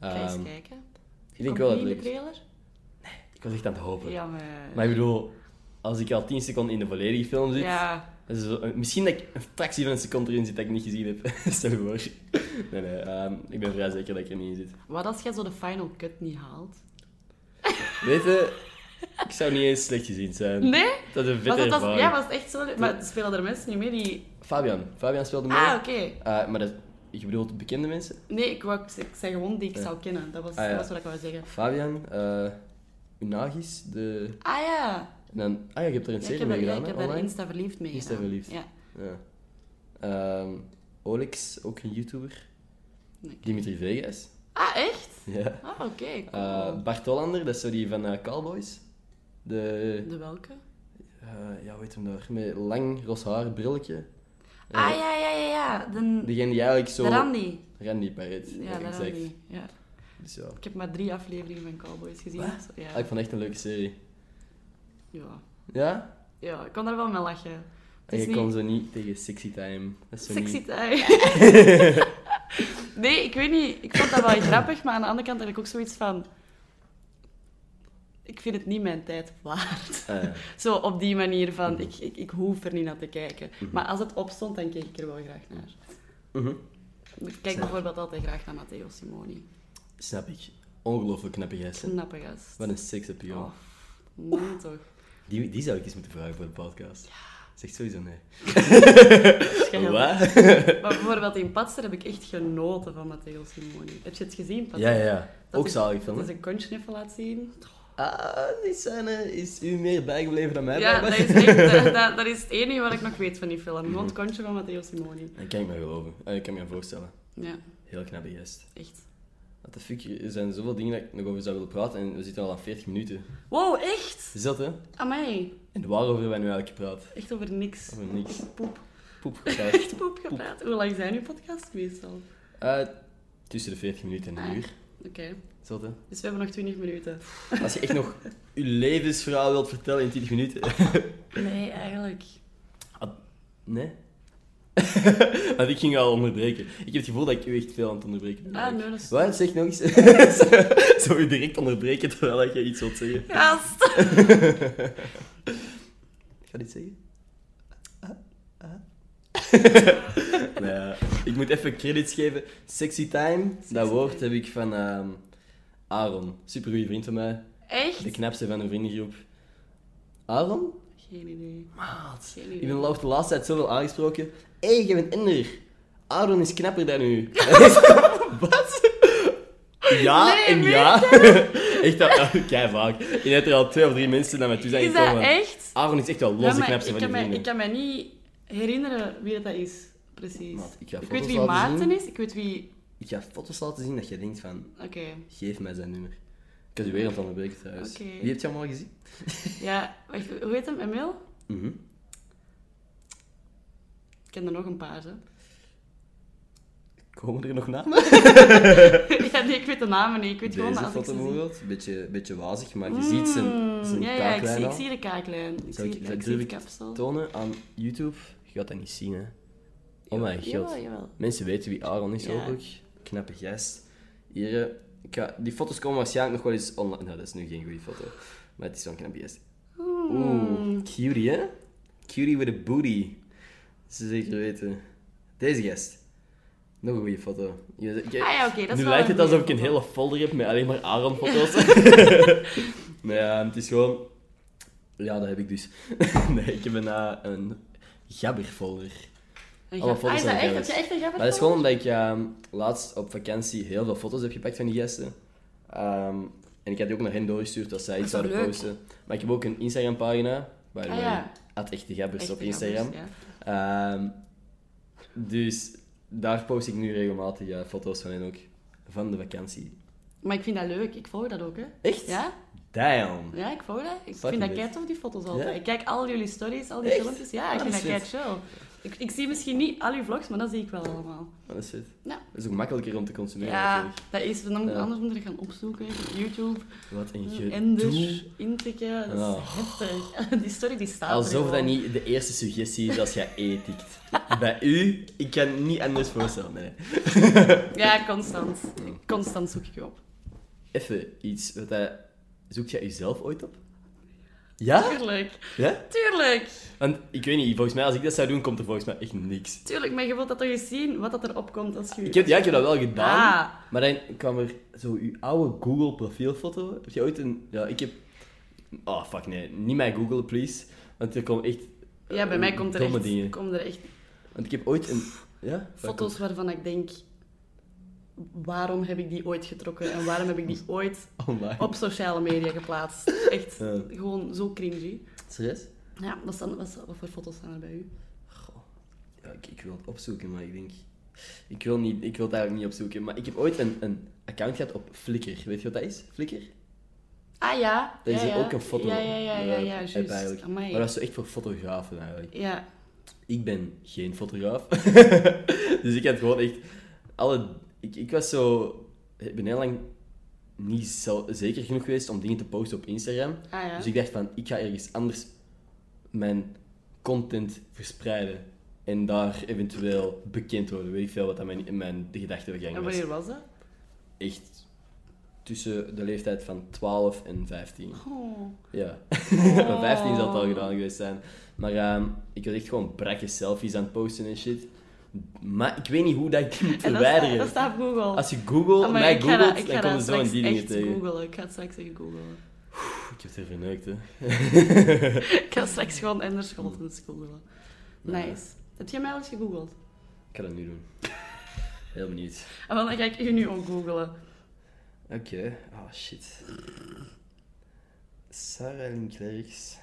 S2: Ga eens
S1: Ehm,
S2: kijken.
S1: ik denk wel dat
S2: Komt
S1: het
S2: niet
S1: leuk
S2: in
S1: is.
S2: de trailer?
S1: Ik was echt aan het hopen.
S2: Jammer.
S1: Maar ik bedoel, als ik al 10 seconden in de volledige film zit,
S2: Ja.
S1: dat is wel- eh, misschien dat ik een fractie van een seconde erin zit dat ik niet gezien heb. Stel je voor. Nee, nee, ehm, ik ben vrij zeker dat ik er niet in zit.
S2: Wat als jij zo de final cut niet haalt?
S1: Weet je, ik zou niet eens slecht gezien zijn.
S2: Nee?
S1: Dat is een
S2: Was
S1: vette
S2: dat, was,
S1: ervaring.
S2: ja, was het echt zo... Maar spelen er mensen niet mee die...
S1: Fabian. Fabian speelde mee.
S2: Ah, oké.
S1: Eh, maar dat, je bedoelt bekende mensen?
S2: Nee, ik, wou, ik zei gewoon die ik
S1: Ja.
S2: zou kennen. Dat was,
S1: Ah, ja.
S2: dat was wat ik wou zeggen.
S1: Fabian, eh, Unagis, de...
S2: Ah ja,
S1: En dan, ah ja, je hebt er een
S2: Ja,
S1: serie
S2: ik heb,
S1: mee
S2: daar- ja,
S1: gedaan,
S2: ik
S1: hè,
S2: heb daar
S1: online?
S2: Insta verliefd mee
S1: Insta
S2: gedaan.
S1: Verliefd.
S2: Ja.
S1: Ja. Ehm, Olex, ook een YouTuber.
S2: Nee.
S1: Dimitri Vegas.
S2: Ah, echt?
S1: Ja.
S2: Ah, oké. cool.
S1: Eh Bart Hollander, dat is zo die van eh, Cowboys. De,
S2: De welke?
S1: eh, ja, hoe heet hem daar? Met lang, ros haar, brilletje. Eh,
S2: Ah, ja, ja, ja, ja. De,
S1: Diegene die eigenlijk
S2: de
S1: zo...
S2: Randy.
S1: Randy Parrot.
S2: Ja, de Randy. Ja.
S1: Dus ja.
S2: Ik heb maar drie afleveringen van Cowboys gezien.
S1: Wat?
S2: Zo, Ja.
S1: Ah, ik vond het echt een leuke serie.
S2: Ja.
S1: Ja?
S2: ja, ik kon daar wel mee lachen. Het
S1: En je
S2: is
S1: kon
S2: niet
S1: zo niet tegen Sexy Time. Dat is zo
S2: sexy
S1: niet...
S2: time. nee, ik weet niet. Ik vond dat wel grappig, maar aan de andere kant had ik ook zoiets van... ik vind het niet mijn tijd waard.
S1: Ah, ja.
S2: Zo op die manier van, ik, ik, ik hoef er niet naar te kijken. Maar als het opstond, dan keek ik er wel graag naar.
S1: Mhm.
S2: Ik kijk bijvoorbeeld altijd graag naar Matteo Simoni.
S1: Snap ik. Ongelooflijk knappe gast. hè.
S2: Knappe gast.
S1: Wat een seks heb je,
S2: Oh, nee toch.
S1: Die, die zou ik eens moeten vragen voor de podcast. Zegt sowieso nee.
S2: Schijnlijk.
S1: Wat?
S2: Maar bijvoorbeeld in Patser heb ik echt genoten van Matteo Simoni. Heb je het gezien, Patser?
S1: Ja, ja, ja.
S2: Dat
S1: Ook
S2: is-
S1: zalig
S2: Dat
S1: filmen.
S2: is een kontsniffel laat zien.
S1: Ah, die scène is u meer bijgebleven dan mij.
S2: Ja, dat
S1: blijkbaar.
S2: is, echt, dat, dat, dat is het enige wat ik nog weet van die film.
S1: Mhm.
S2: Gewoon het kontje van Matteo Simoni.
S1: Dat kan ik me geloven. Ah, ik kan me voorstellen.
S2: Ja,
S1: Heel knappe gast.
S2: echt.
S1: Wat de fuck, er zijn zoveel dingen dat ik nog over zou willen praten en we zitten al aan 40 minuten.
S2: Wow, echt?
S1: Is dat hè?
S2: Amai.
S1: En waarover wij nu eigenlijk praten?
S2: Echt over niks.
S1: Over niks.
S2: Poep.
S1: Poep, graag.
S2: Echt poep gepraat. Hoe lang zijn uw podcasts meestal?
S1: Eh, tussen de 40 minuten en een
S2: Ah.
S1: uur.
S2: Oké,
S1: Is dat hè?
S2: dus we hebben nog 20 minuten.
S1: Als je echt nog je levensverhaal wilt vertellen in 20 minuten.
S2: Nee, eigenlijk.
S1: Nee. Want ik ging al onderbreken. Ik heb het gevoel dat ik u echt veel aan het onderbreken ben.
S2: Ah, nee, dat is...
S1: Wat? Zeg nog eens. Zou je direct onderbreken terwijl dat je iets wilt zeggen?
S2: Gast!
S1: Ga dit zeggen? nee, Nou ja. ik moet even credits geven. Sexy Time, dat
S2: Time.
S1: woord heb ik van ehm, Aaron. Super goede vriend van mij.
S2: Echt?
S1: De knapste van een vriendengroep. Aaron?
S2: Geen idee.
S1: Maat.
S2: Geen
S1: Ik
S2: idee.
S1: ben Lau de laatste tijd zoveel aangesproken. Hé, hey, jij bent Ender. Aaron is knapper dan u. Wat? Ja
S2: Nee,
S1: en
S2: meen
S1: ja. Echt dat, kei vaak. Je hebt er al twee of drie mensen naar mij toe zijn
S2: Is dat
S1: gekomen.
S2: echt?
S1: Aaron is echt wel
S2: Ja,
S1: los de
S2: maar
S1: knapste
S2: ik,
S1: van
S2: kan
S1: die
S2: mij, ik
S1: vrienden.
S2: kan mij niet herinneren wie dat dat is. Precies.
S1: Maat, ik ga
S2: ik weet
S1: foto's
S2: wie
S1: laten
S2: Maarten
S1: zien.
S2: is. Ik weet wie...
S1: Ik ga foto's laten zien dat je denkt van,
S2: Oké.
S1: geef mij zijn nummer. Ik had u weer aan het onderbreken trouwens.
S2: Oké.
S1: Wie heb je allemaal gezien?
S2: Ja, wacht, hoe heet hem? Emil?
S1: Mhm.
S2: Ik ken er nog een paar, hè.
S1: Komen er nog namen?
S2: ja, nee, ik weet de namen niet. Ik weet gewoon
S1: Deze
S2: dat
S1: foto
S2: als ik ze zie...
S1: bijvoorbeeld. Beetje, beetje wazig, maar je ziet zijn, zijn
S2: Mm, Ja, ja, ik
S1: kaaklijn
S2: zie, ik
S1: al.
S2: zie de kaaklijn. Ik
S1: Zal ik-
S2: zie,
S1: zal ik
S2: ik zie de
S1: durf ik-
S2: kapsel.
S1: tonen aan YouTube. Je gaat dat niet zien, hè. Oh mijn god.
S2: Jawel, jawel.
S1: Mensen weten wie Aaron is
S2: Ja.
S1: ook. Knappe gast. Hier, eh, ik ga- die foto's komen waarschijnlijk nog wel eens online. Nou, dat is nu geen goede foto. Maar het is wel een knappe gast.
S2: Hmm.
S1: Oeh, cutie, hè? Cutie with a booty. Ze zeker weten. Deze gast. Nog een goede foto. Je- ik-
S2: Ah ja, oké, dat is
S1: nu
S2: wel
S1: lijkt
S2: een
S1: het alsof ik
S2: goeie
S1: een
S2: foto.
S1: hele folder heb met alleen maar Aaron-foto's. maar ja, het is gewoon... Ja, dat heb ik dus. nee, ik heb een, eh, een gabberfolder.
S2: Een
S1: Alle
S2: gab-
S1: foto's
S2: ah, is
S1: zijn
S2: dat echt? Heb
S1: gabbers.
S2: je echt een gabber?
S1: Maar dat is gewoon omdat ik ehm, laatst op vakantie heel veel foto's heb gepakt van die gasten. Ehm, en ik had die ook naar hen doorgestuurd als zij iets
S2: Dat is wel
S1: zouden
S2: leuk.
S1: posten. Maar ik heb ook een Instagram-pagina. Waar
S2: Ah, ja.
S1: echt de gabbers
S2: Echte
S1: op Instagram.
S2: gabbers, ja.
S1: Ehm, dus daar post ik nu regelmatig eh, foto's van hen ook. Van de vakantie.
S2: Maar ik vind dat leuk. Ik volg dat ook, hè.
S1: Echt?
S2: Ja,
S1: Damn.
S2: ja ik volg dat. Ik
S1: Fucking
S2: vind dat
S1: leuk.
S2: kei tof, die foto's altijd.
S1: Ja?
S2: Ik kijk al jullie stories, al die
S1: Echt?
S2: filmpjes. Ja, ik
S1: Ah,
S2: vind dat
S1: dat
S2: kei
S1: is
S2: chill. Ik, ik zie misschien niet al uw vlogs, maar dat zie ik wel allemaal.
S1: Wat is dit?
S2: Ja.
S1: Dat is ook makkelijker om te consumeren
S2: Ja,
S1: natuurlijk.
S2: dat is... Dan moet ik
S1: Ja.
S2: anders moeten gaan opzoeken. YouTube,
S1: Wat een gedoe.
S2: Ender, intikken. Dat is
S1: Ah.
S2: heftig. Die story die staat er
S1: Alsof dat
S2: gewoon.
S1: niet de eerste suggestie is als jij E tikt. Bij u, ik kan niet anders voorstellen. Nee.
S2: Ja, constant. Constant zoek ik je op.
S1: Even iets. Wat hij... Zoekt jij jezelf ooit op? Ja?
S2: Tuurlijk.
S1: Ja?
S2: Tuurlijk.
S1: Want ik weet niet, volgens mij, als ik dat zou doen, komt er volgens mij echt niks.
S2: Tuurlijk, maar je wilt dat toch eens zien, wat dat er opkomt als je...
S1: Ik heb, ja, ik heb dat wel gedaan.
S2: Ah.
S1: Maar dan kwam er zo uw oude Google profielfoto. Heb je ooit een... Ja, ik heb... Oh, fuck nee. Niet mijn Google, please. Want er komen echt... eh,
S2: Ja, bij mij komt er,
S1: domme
S2: echt,
S1: dingen.
S2: komen er echt
S1: Want ik heb ooit een... Ja?
S2: foto's waarvan ik denk... Waarom heb ik die ooit getrokken en waarom heb ik die ooit
S1: Oh my.
S2: op sociale media geplaatst? Echt,
S1: Ja.
S2: gewoon zo cringy.
S1: Serieus?
S2: Ja, wat, staan, wat, wat voor foto's staan er bij u?
S1: Ja, ik, ik wil het opzoeken, maar ik denk... Ik wil, niet, ik wil het eigenlijk niet opzoeken. Maar ik heb ooit een, een account gehad op Flickr. Weet je wat dat is? Flickr?
S2: Ah ja,
S1: Daar is
S2: ja,
S1: hier
S2: ja.
S1: ook een foto
S2: Ja, ja, ja, ja,
S1: eh,
S2: ja,
S1: app
S2: juist.
S1: eigenlijk.
S2: Amai.
S1: Maar dat is zo echt voor fotografen eigenlijk.
S2: Ja,
S1: ik ben geen fotograaf. dus ik had gewoon echt alle... Ik, ik was zo... Ik ben heel lang niet zo, zeker genoeg geweest om dingen te posten op Instagram.
S2: ah ja.
S1: Dus ik dacht van, ik ga ergens anders mijn content verspreiden. En daar eventueel bekend worden. Weet ik veel wat dat mijn, mijn de gedachtegang was.
S2: En wanneer was dat?
S1: Echt tussen de leeftijd van 12 en 15.
S2: Oh.
S1: Ja, van 15 zal het al gedaan geweest zijn. Maar ehm, ik was echt gewoon brakke selfies aan het posten en shit. Maar ik weet niet hoe dat ik die moet
S2: En dat, staat,
S1: verwijderen.
S2: dat staat op Google.
S1: Als je Google,
S2: Amai,
S1: mij
S2: ik ga dat-
S1: googelt,
S2: ik
S1: dan
S2: ga
S1: komen
S2: dat
S1: zo in die
S2: straks
S1: dingen
S2: echt
S1: tegen.
S2: googlen. Ik ga het straks echt googlen.
S1: Ik heb het er verneukt, hè.
S2: Ik ga straks gewoon Anders Scholtens googlen.
S1: Ja.
S2: Nice. Heb jij mij al eens gegoogeld?
S1: Ik ga dat nu doen. Heel benieuwd.
S2: En Ah, wel, dan ga ik je nu ook googlen.
S1: Oké. Oh, shit. Sarah Linklerks.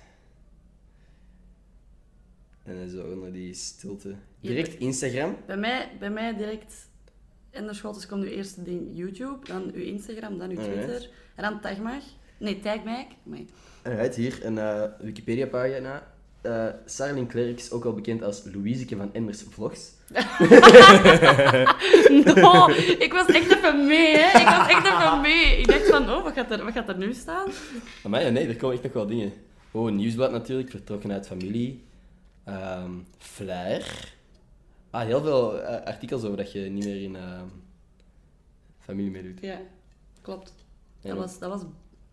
S1: En dan zo onder die stilte. Direct Instagram.
S2: Bij mij, bij mij direct Anders Scholtens dus komt uw eerste ding YouTube, dan uw Instagram, dan uw
S1: Alright.
S2: Twitter. En dan tag mij. Nee, tag mij. Nee.
S1: Alright, hier een eh, Wikipedia-pagina. Eh Sarah Linklerks, ook wel bekend als Louiseke van Enders Vlogs.
S2: No, ik was echt even mee, hè. Ik was echt even mee. Ik dacht van, oh, wat gaat er, wat gaat er nu staan?
S1: Maar ja, nee, er komen echt nog wel dingen. Oh, een nieuwsblad natuurlijk, vertrokken uit familie. Ehm Flair. Ah, heel veel eh, artikels over dat je niet meer in ehm, familie meedoet.
S2: Ja, klopt.
S1: Ja.
S2: Dat was, dat was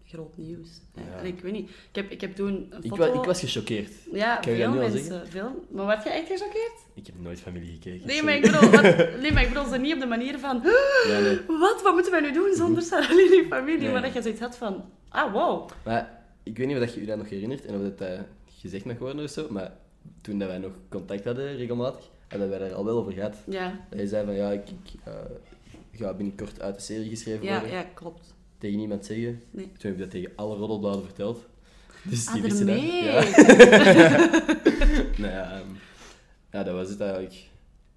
S2: groot nieuws.
S1: Ja.
S2: En ik weet niet. Ik heb, ik heb toen een
S1: Ik,
S2: foto...
S1: wa- ik was gechoqueerd.
S2: Ja,
S1: Kan je
S2: veel
S1: dat nu al
S2: mensen. Veel. Maar werd je echt gechoqueerd?
S1: Ik heb nooit familie gekeken.
S2: Nee
S1: sorry.
S2: maar, ik bedoel, wat- nee, maar ik bedoel ze niet op de manier van...
S1: Ja, nee.
S2: Wat? Wat moeten wij nu doen zonder Sarah Lily familie?
S1: Nee.
S2: Maar dat je zoiets had van... Ah, wow.
S1: Maar ik weet niet of dat je je dat nog herinnert en of dat eh, gezegd mag worden of zo, maar toen dat wij nog contact hadden regelmatig, hadden wij daar al wel over gehad.
S2: Ja,
S1: Dat je zei van ja, ik, ik, eh, ga binnenkort uit de serie geschreven
S2: ja,
S1: worden.
S2: ja klopt.
S1: Tegen niemand zeggen.
S2: Nee.
S1: Toen heb ik dat tegen alle roddelbladen verteld. Dus die
S2: Ah,
S1: wisten dat.
S2: ermee.
S1: Ja. Nou ja, ehm, ja, dat was het eigenlijk.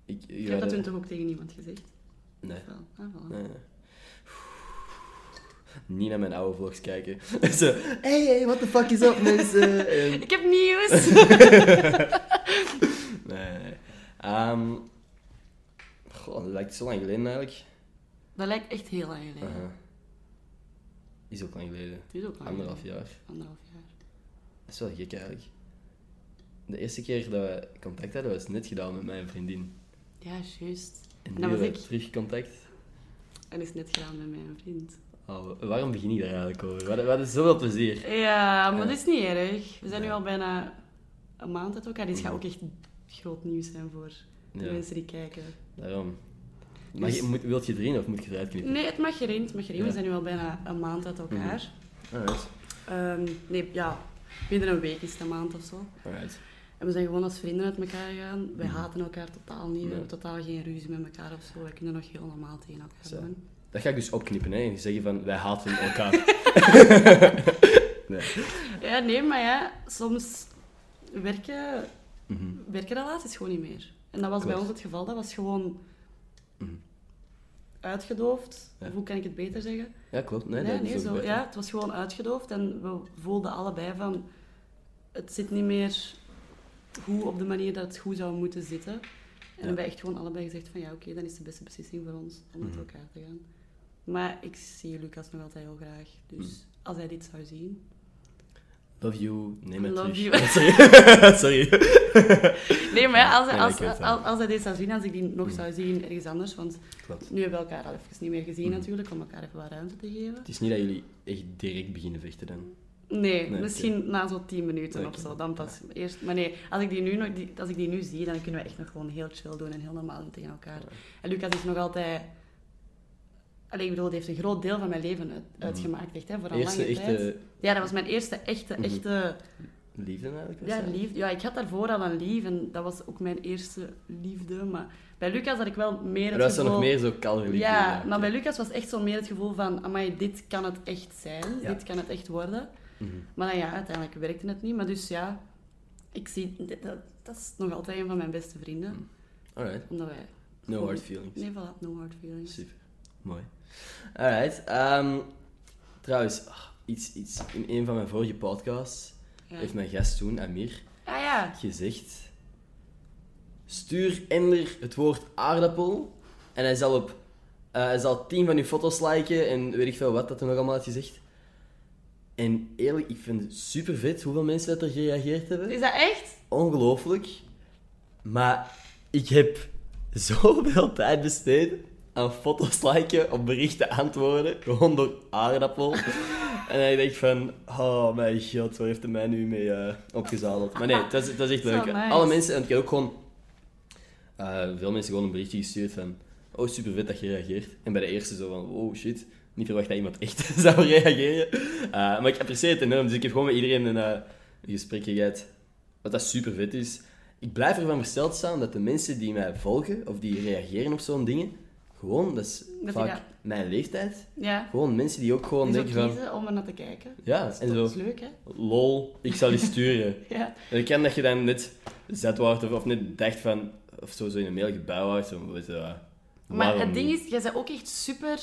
S1: Ik, ik,
S2: Ik heb dat
S1: eh,
S2: toen toch ook tegen niemand gezegd?
S1: Nee.
S2: Wel, ah, voilà.
S1: nee. Niet naar mijn oude vlogs kijken. Zo, hey, hey, what the fuck is up, mensen? En-
S2: Ik heb nieuws!
S1: Nee. nee, nee. Ehm, goh, dat lijkt zo lang geleden eigenlijk.
S2: Dat lijkt echt heel lang geleden.
S1: Aha. Is ook lang geleden.
S2: Het is ook lang
S1: Anderhalf
S2: geleden.
S1: jaar.
S2: Anderhalf jaar.
S1: Dat is wel gek eigenlijk. De eerste keer dat we contact hadden, was net gedaan met mijn vriendin.
S2: Ja, juist.
S1: En
S2: En
S1: nu
S2: dat was
S1: hebben
S2: ik.
S1: we terug contact.
S2: En is net gedaan met mijn vriend.
S1: Oh, waarom begin ik daar eigenlijk over? We hadden, we hadden zoveel plezier.
S2: Ja, maar
S1: Ja.
S2: dat is niet erg. We zijn nu
S1: Nee.
S2: al bijna een maand uit elkaar. Dit gaat
S1: Mhm.
S2: ook echt groot nieuws zijn voor de
S1: Ja.
S2: mensen die kijken.
S1: Daarom.
S2: Dus-
S1: Maar je, moet, wilt je erin of moet je eruit knippen?
S2: Nee, het mag gereden, het mag gereden.
S1: Ja.
S2: We zijn nu al bijna een maand uit elkaar.
S1: Alright.
S2: Ehm, nee, ja, binnen een week is het een maand of zo.
S1: Alright.
S2: En we zijn gewoon als vrienden uit elkaar gegaan. Wij haten elkaar totaal niet.
S1: Mhm. Nee.
S2: We hebben totaal geen ruzie met elkaar of zo. Wij kunnen nog heel normaal tegen elkaar
S1: Zo.
S2: doen.
S1: Dat ga ik dus opknippen, hè. En zeggen van, wij haten elkaar.
S2: Ja, nee, maar ja, soms werken,
S1: Mhm.
S2: werken relaties gewoon niet meer. En dat was bij
S1: Klopt.
S2: ons het geval. Dat was gewoon
S1: Mhm.
S2: uitgedoofd.
S1: Ja.
S2: Of Hoe kan ik het beter zeggen?
S1: Ja, klopt. Nee, dat is ook
S2: zo,
S1: beter.
S2: ja, het was gewoon uitgedoofd en we voelden allebei van... Het zit niet meer goed op de manier dat het goed zou moeten zitten. En we hebben echt gewoon allebei gezegd van ja, oké, dan is de beste beslissing voor ons om uit
S1: Mhm.
S2: elkaar te gaan. Maar ik zie Lucas nog altijd heel graag. Dus
S1: Mhm.
S2: als hij dit zou zien...
S1: Love you, neem het
S2: Love
S1: terug. Sorry.
S2: you.
S1: Sorry.
S2: Nee, maar ja, als,
S1: Nee, ik
S2: als,
S1: weet
S2: als,
S1: het. Mhm.
S2: als, hij dit zou zien, als ik die nog zou zien ergens anders, want
S1: Klopt.
S2: nu hebben we elkaar al even niet meer
S1: Mhm.
S2: gezien natuurlijk, om elkaar even wat ruimte te geven.
S1: Het is niet dat jullie echt direct beginnen vechten dan.
S2: Nee,
S1: Nee,
S2: misschien na zo'n 10 minuten
S1: Oké.
S2: of zo, dan pas eerst. Maar nee, als ik, die nu nog, die, als ik die nu zie, dan kunnen we echt nog gewoon heel chill doen en heel normaal doen tegen elkaar. En Lucas is nog altijd... Allee, ik bedoel, het heeft een groot deel van mijn leven uit- uitgemaakt, echt, hè, voor een
S1: Mhm. Eerste
S2: lange tijd.
S1: echte
S2: Ja, dat was mijn eerste echte,
S1: Mhm.
S2: echte...
S1: liefde eigenlijk? was
S2: Ja,
S1: dat?
S2: liefde. Ja, ik had daarvoor al een lief en dat was ook mijn eerste liefde. Maar bij Lucas had ik wel meer
S1: Maar
S2: het
S1: dat was dan
S2: gevoel...
S1: nog meer zo kalme liefde.
S2: ja,
S1: oké.
S2: maar bij Lucas was echt zo meer het gevoel van... Amai, dit kan het echt zijn.
S1: Ja.
S2: Dit kan het echt worden.
S1: Mhm.
S2: Maar dan ja, uiteindelijk werkte het niet. Maar dus ja, ik zie... Dat, dat- dat is nog altijd een van mijn beste vrienden.
S1: Alright.
S2: Omdat wij...
S1: No hard feelings.
S2: Nee, voilà. No hard feelings.
S1: Super. Mooi. Alright. ehm, trouwens, ah, iets, iets in een van mijn vorige podcasts
S2: Ja.
S1: heeft mijn gast toen, Amir,
S2: Ah ja.
S1: gezegd... Stuur Ender het woord aardappel en hij zal op... eh, hij zal tien van uw foto's liken en weet ik veel wat dat hij nog allemaal had gezegd. En eerlijk, ik vind het super vet hoeveel mensen dat er gereageerd hebben.
S2: Is dat echt?
S1: ongelooflijk. Maar ik heb zoveel tijd besteed aan foto's liken, op berichten antwoorden, gewoon door aardappel. en hij denkt van, oh mijn god, waar heeft hij mij nu mee eh, opgezadeld? Maar nee, dat is, dat is echt
S2: Zo
S1: leuk.
S2: nice.
S1: Alle mensen, en ik heb ook gewoon eh, veel mensen gewoon een berichtje gestuurd van, oh super vet dat je reageert. En bij de eerste zo van, oh shit, niet verwacht dat iemand echt zou reageren. Eh, maar ik apprecieer het enorm, dus ik heb gewoon met iedereen een, eh, een gesprekje gehad. Wat dat super vet is. Ik blijf ervan versteld staan dat de mensen die mij volgen of die reageren op zo'n dingen, gewoon, dat is
S2: die
S1: vaak
S2: dat-
S1: mijn leeftijd.
S2: Ja.
S1: Gewoon mensen die ook gewoon
S2: Dus ook
S1: denken van,
S2: kiezen om er naar te kijken.
S1: ja, en
S2: Dat
S1: zo,
S2: is leuk, hè?
S1: lol, ik zal je sturen.
S2: Ja.
S1: En ik ken dat je dan net zet wordt of, of net dacht van, of zo, zo in een mail gebouwd, zo, weet je, eh,
S2: Maar
S1: waarom
S2: het ding
S1: niet?
S2: is, jij bent ook echt super...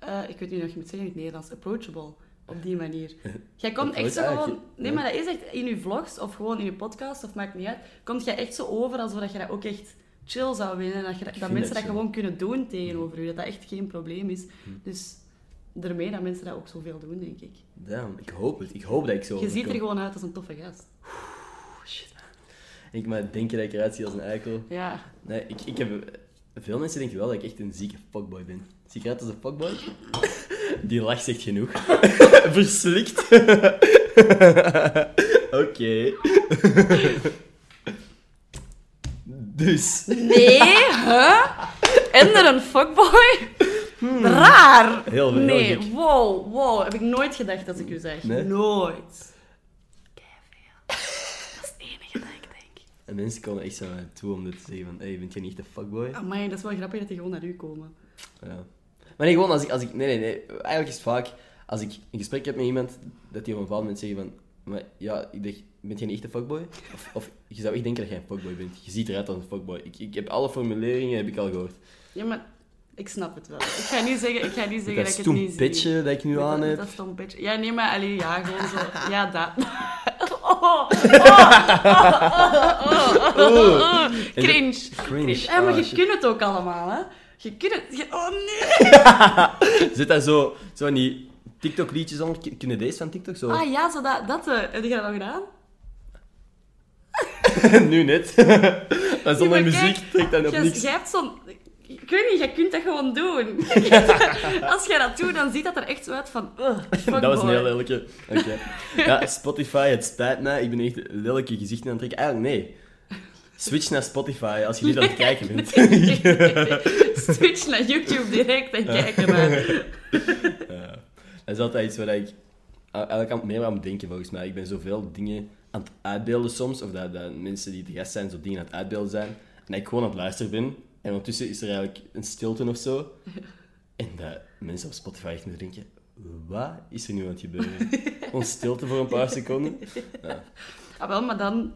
S2: eh, ik weet niet hoe je moet zeggen in het Nederlands. Approachable. Op die manier. Jij komt echt zo
S1: Approach-
S2: gewoon...
S1: eigenlijk,
S2: Nee,
S1: ja.
S2: maar dat is echt in je vlogs of gewoon in je podcast, of maakt niet uit. Komt jij echt zo over alsof dat je dat ook echt chill zou willen. En dat, je, dat
S1: vind
S2: mensen
S1: dat Mm.
S2: dat,
S1: zo.
S2: gewoon kunnen doen tegenover je. Dat dat echt geen probleem is.
S1: Mm.
S2: Dus daarmee dat mensen dat ook zoveel doen, denk ik.
S1: Damn, ik hoop het. Ik hoop dat ik zo
S2: Je ziet er
S1: overkom.
S2: gewoon uit als een toffe gast.
S1: Ik maar denk dat ik eruit zie als een eikel.
S2: Ja.
S1: Nee, ik, ik heb... Veel mensen denken wel dat ik echt een zieke fuckboy ben. Zie ik eruit als een fuckboy? Die lach zegt genoeg. Verslikt. Oké. dus.
S2: Nee, huh? En er een fuckboy? Raar!
S1: Hmm. Heel- heel
S2: Nee,
S1: gek.
S2: wow, wow. Heb ik nooit gedacht als ik u zeg.
S1: Nee?
S2: Nooit. Keiveel. Dat is het enige dat ik denk.
S1: En mensen komen echt zo naar mij toe om dit te zeggen van... Hé, hey, bent jij niet echt een fuckboy?
S2: Amai, dat is wel grappig dat die gewoon naar u komen.
S1: Ja. Maar nee, gewoon als ik, als ik... Nee, nee, nee. Eigenlijk is het vaak... Als ik een gesprek heb met iemand, dat die op een bepaald moment zeggen van... Maar ja, ik dacht, ben jij een echte fuckboy? Of, of je zou echt denken dat jij een fuckboy bent. Je ziet eruit als een fuckboy. Ik, ik heb alle formuleringen heb ik al gehoord.
S2: Ja, maar ik snap het wel. Ik ga niet zeggen, ik ga niet zeggen
S1: Met
S2: dat,
S1: dat
S2: ik het
S1: stoem
S2: niet zie.
S1: pitje dat ik nu
S2: Met
S1: aan
S2: dat-
S1: heb.
S2: Dat stom pitje. Ja, nee, maar alleen ja, gewoon zo. Ja, dat. Oh, oh, oh, oh, oh, oh, oh. Cringe.
S1: Cringe.
S2: Eh, maar
S1: Ah,
S2: je
S1: shit.
S2: kunt het ook allemaal, hè? Je kunt het. je- Oh nee!
S1: Zit daar zo, zo van die TikTok-liedjes onder? K- Kunnen deze van TikTok zo?
S2: Ah ja, zo dat. dat eh, heb je dat al gedaan?
S1: nu net. en zonder
S2: Ja, maar
S1: muziek
S2: kijk,
S1: trekt dan op
S2: jij-
S1: niks.
S2: Jij hebt zo'n... Ik weet niet, jij kunt dat gewoon doen. Als jij dat doet, dan ziet dat er echt zo uit van... Ugh,
S1: Dat was een heel lelijke. Oké. Ja, Spotify, het spijt mij. Ik ben echt lelijke gezichten aan het trekken. Eigenlijk, nee. Switch naar Spotify als je niet aan het kijken bent.
S2: Switch naar YouTube direct en kijken maar.
S1: Ja. Dat is altijd iets waar ik eigenlijk aan- meer aan moet denken, volgens mij. Ik ben zoveel dingen aan het uitbeelden soms, of dat, dat mensen die te gast zijn zo dingen aan het uitbeelden zijn, en dat ik gewoon aan het luisteren ben, en ondertussen is er eigenlijk een stilte of zo, en dat mensen op Spotify echt moeten denken, wat is er nu aan het gebeuren? Gewoon stilte voor een paar seconden.
S2: Ah, wel, maar dan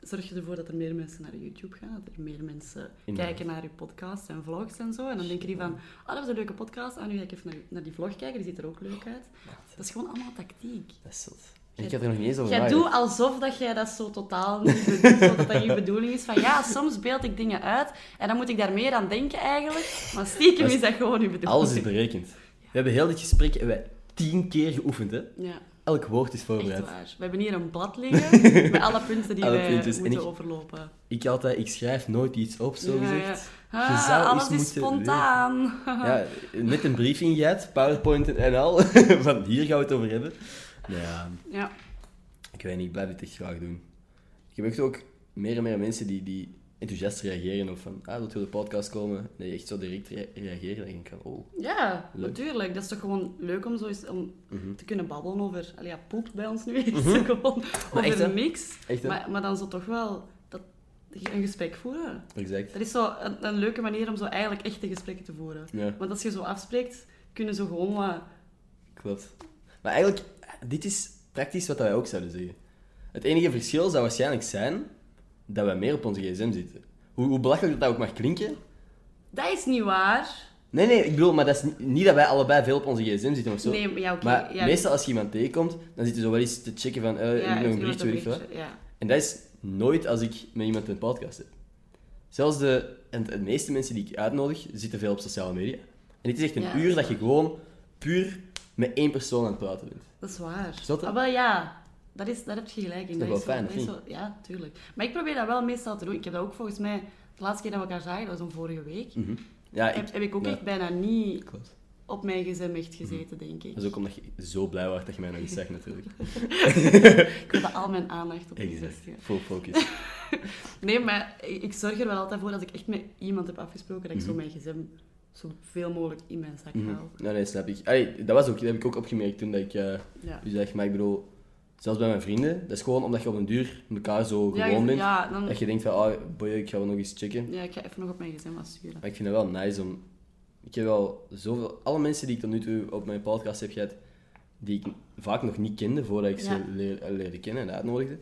S2: zorg je ervoor dat er meer mensen naar YouTube gaan. Dat er meer mensen
S1: Inderdaad.
S2: kijken naar je podcast en vlogs en zo. En dan denken die van... Ah, dat was een leuke podcast. Ah, nu ga ik even naar, naar die vlog kijken. Die ziet er ook leuk uit. Dat is gewoon allemaal tactiek.
S1: Dat is zot. En ik heb er nog niet eens over
S2: Jij doet
S1: nagedacht.
S2: alsof dat jij dat zo totaal niet bedoelt, zo dat dat je bedoeling is. Van ja, soms beeld ik dingen uit en dan moet ik daar meer aan denken eigenlijk. Maar stiekem
S1: Dat is-
S2: is dat gewoon je bedoeling.
S1: Alles is berekend. We hebben heel dit gesprek hebben wij tien keer geoefend, hè.
S2: Ja,
S1: Elk woord is
S2: echt
S1: voorbereid.
S2: waar. We hebben hier een blad liggen met alle punten die
S1: Alle
S2: wij
S1: puntjes. En
S2: moeten
S1: ik-
S2: overlopen.
S1: Ik altijd, ik schrijf nooit iets op, zo
S2: Ja,
S1: gezegd.
S2: ja.
S1: Je
S2: Ah,
S1: zou eens
S2: alles is
S1: moeten
S2: spontaan. Ah.
S1: Ja, met een briefing gehad, PowerPoint en al. Van hier gaan we het over hebben. Nou Ja,
S2: Ja.
S1: ik weet niet, ik blijf dit echt graag doen. Ik heb echt ook meer en meer mensen die, die enthousiast reageren of van, ah, wilt je op de podcast komen? Nee, echt zo direct re- reageren. Dan denk ik van, oh,
S2: Ja,
S1: Leuk. Mhm.
S2: natuurlijk. Dat is toch gewoon leuk om zo eens om te kunnen babbelen over... Allee, ja, poep bij ons nu is gewoon
S1: Maar echt,
S2: over
S1: hè?
S2: niks.
S1: Echt, hè?
S2: maar, maar dan zo toch wel dat, een gesprek voeren.
S1: exact.
S2: Dat is zo een, een leuke manier om zo eigenlijk echte gesprekken te voeren.
S1: Ja.
S2: Want als je zo afspreekt, kunnen ze gewoon wat...
S1: Klopt. Maar eigenlijk, dit is praktisch wat wij ook zouden zeggen. Het enige verschil zou waarschijnlijk zijn dat wij meer op onze gsm zitten. Hoe, hoe belachelijk dat, dat ook mag klinken.
S2: Dat is niet waar.
S1: Nee, nee, ik bedoel, maar dat is niet, niet dat wij allebei veel op onze gsm zitten of zo.
S2: Nee, maar ja, oké,
S1: Maar
S2: ja.
S1: meestal als je iemand tegenkomt, dan zit je zo wel eens te checken van, eh, heb
S2: is
S1: je nog een berichtje, weet ik veel.
S2: Ja.
S1: En dat is nooit als ik met iemand een podcast heb. Zelfs de, en de meeste mensen die ik uitnodig, zitten veel op sociale media. En dit is echt een
S2: Ja.
S1: uur dat je gewoon puur met één persoon aan het praten bent.
S2: Dat is waar.
S1: dat het?
S2: Ah, wel ja. Dat is, daar heb je gelijk in.
S1: Dat is wel
S2: zo-
S1: fijn,
S2: is
S1: of
S2: zo- Ja, tuurlijk. Maar ik probeer dat wel meestal te doen. Ik heb dat ook volgens mij... De laatste keer dat we elkaar zagen, dat was om vorige week.
S1: Ja, ik-
S2: heb, heb ik ook
S1: ja.
S2: echt bijna niet
S1: Klopt.
S2: op mijn gezin echt gezeten, denk ik.
S1: Dat is ook omdat je zo blij was dat je mij nog iets zegt, natuurlijk.
S2: Ik wilde al mijn aandacht op die
S1: Exact.
S2: zesde.
S1: Full focus.
S2: Nee, maar ik ik zorg er wel altijd voor dat ik echt met iemand heb afgesproken
S1: Mhm.
S2: dat ik zo mijn gezin zoveel mogelijk in mijn zak haal.
S1: Nee, nee, snap ik. Allee, dat, was ook, dat heb ik ook opgemerkt toen dat ik eh
S2: Ja.
S1: u zeg, maar ik bedoel, zelfs bij mijn vrienden, dat is gewoon omdat je op een duur elkaar zo
S2: Ja,
S1: gewoon
S2: je-
S1: bent,
S2: ja, dan,
S1: dat je denkt van, ah, boy, ik ga wel nog eens checken.
S2: ja, ik ga even nog op mijn gezin wat sturen.
S1: Maar ik vind het wel nice om... Ik heb wel zoveel... Alle mensen die ik tot nu toe op mijn podcast heb gehad, die ik vaak nog niet kende voordat ik
S2: Ja.
S1: ze leer- eh, leerde kennen en uitnodigde.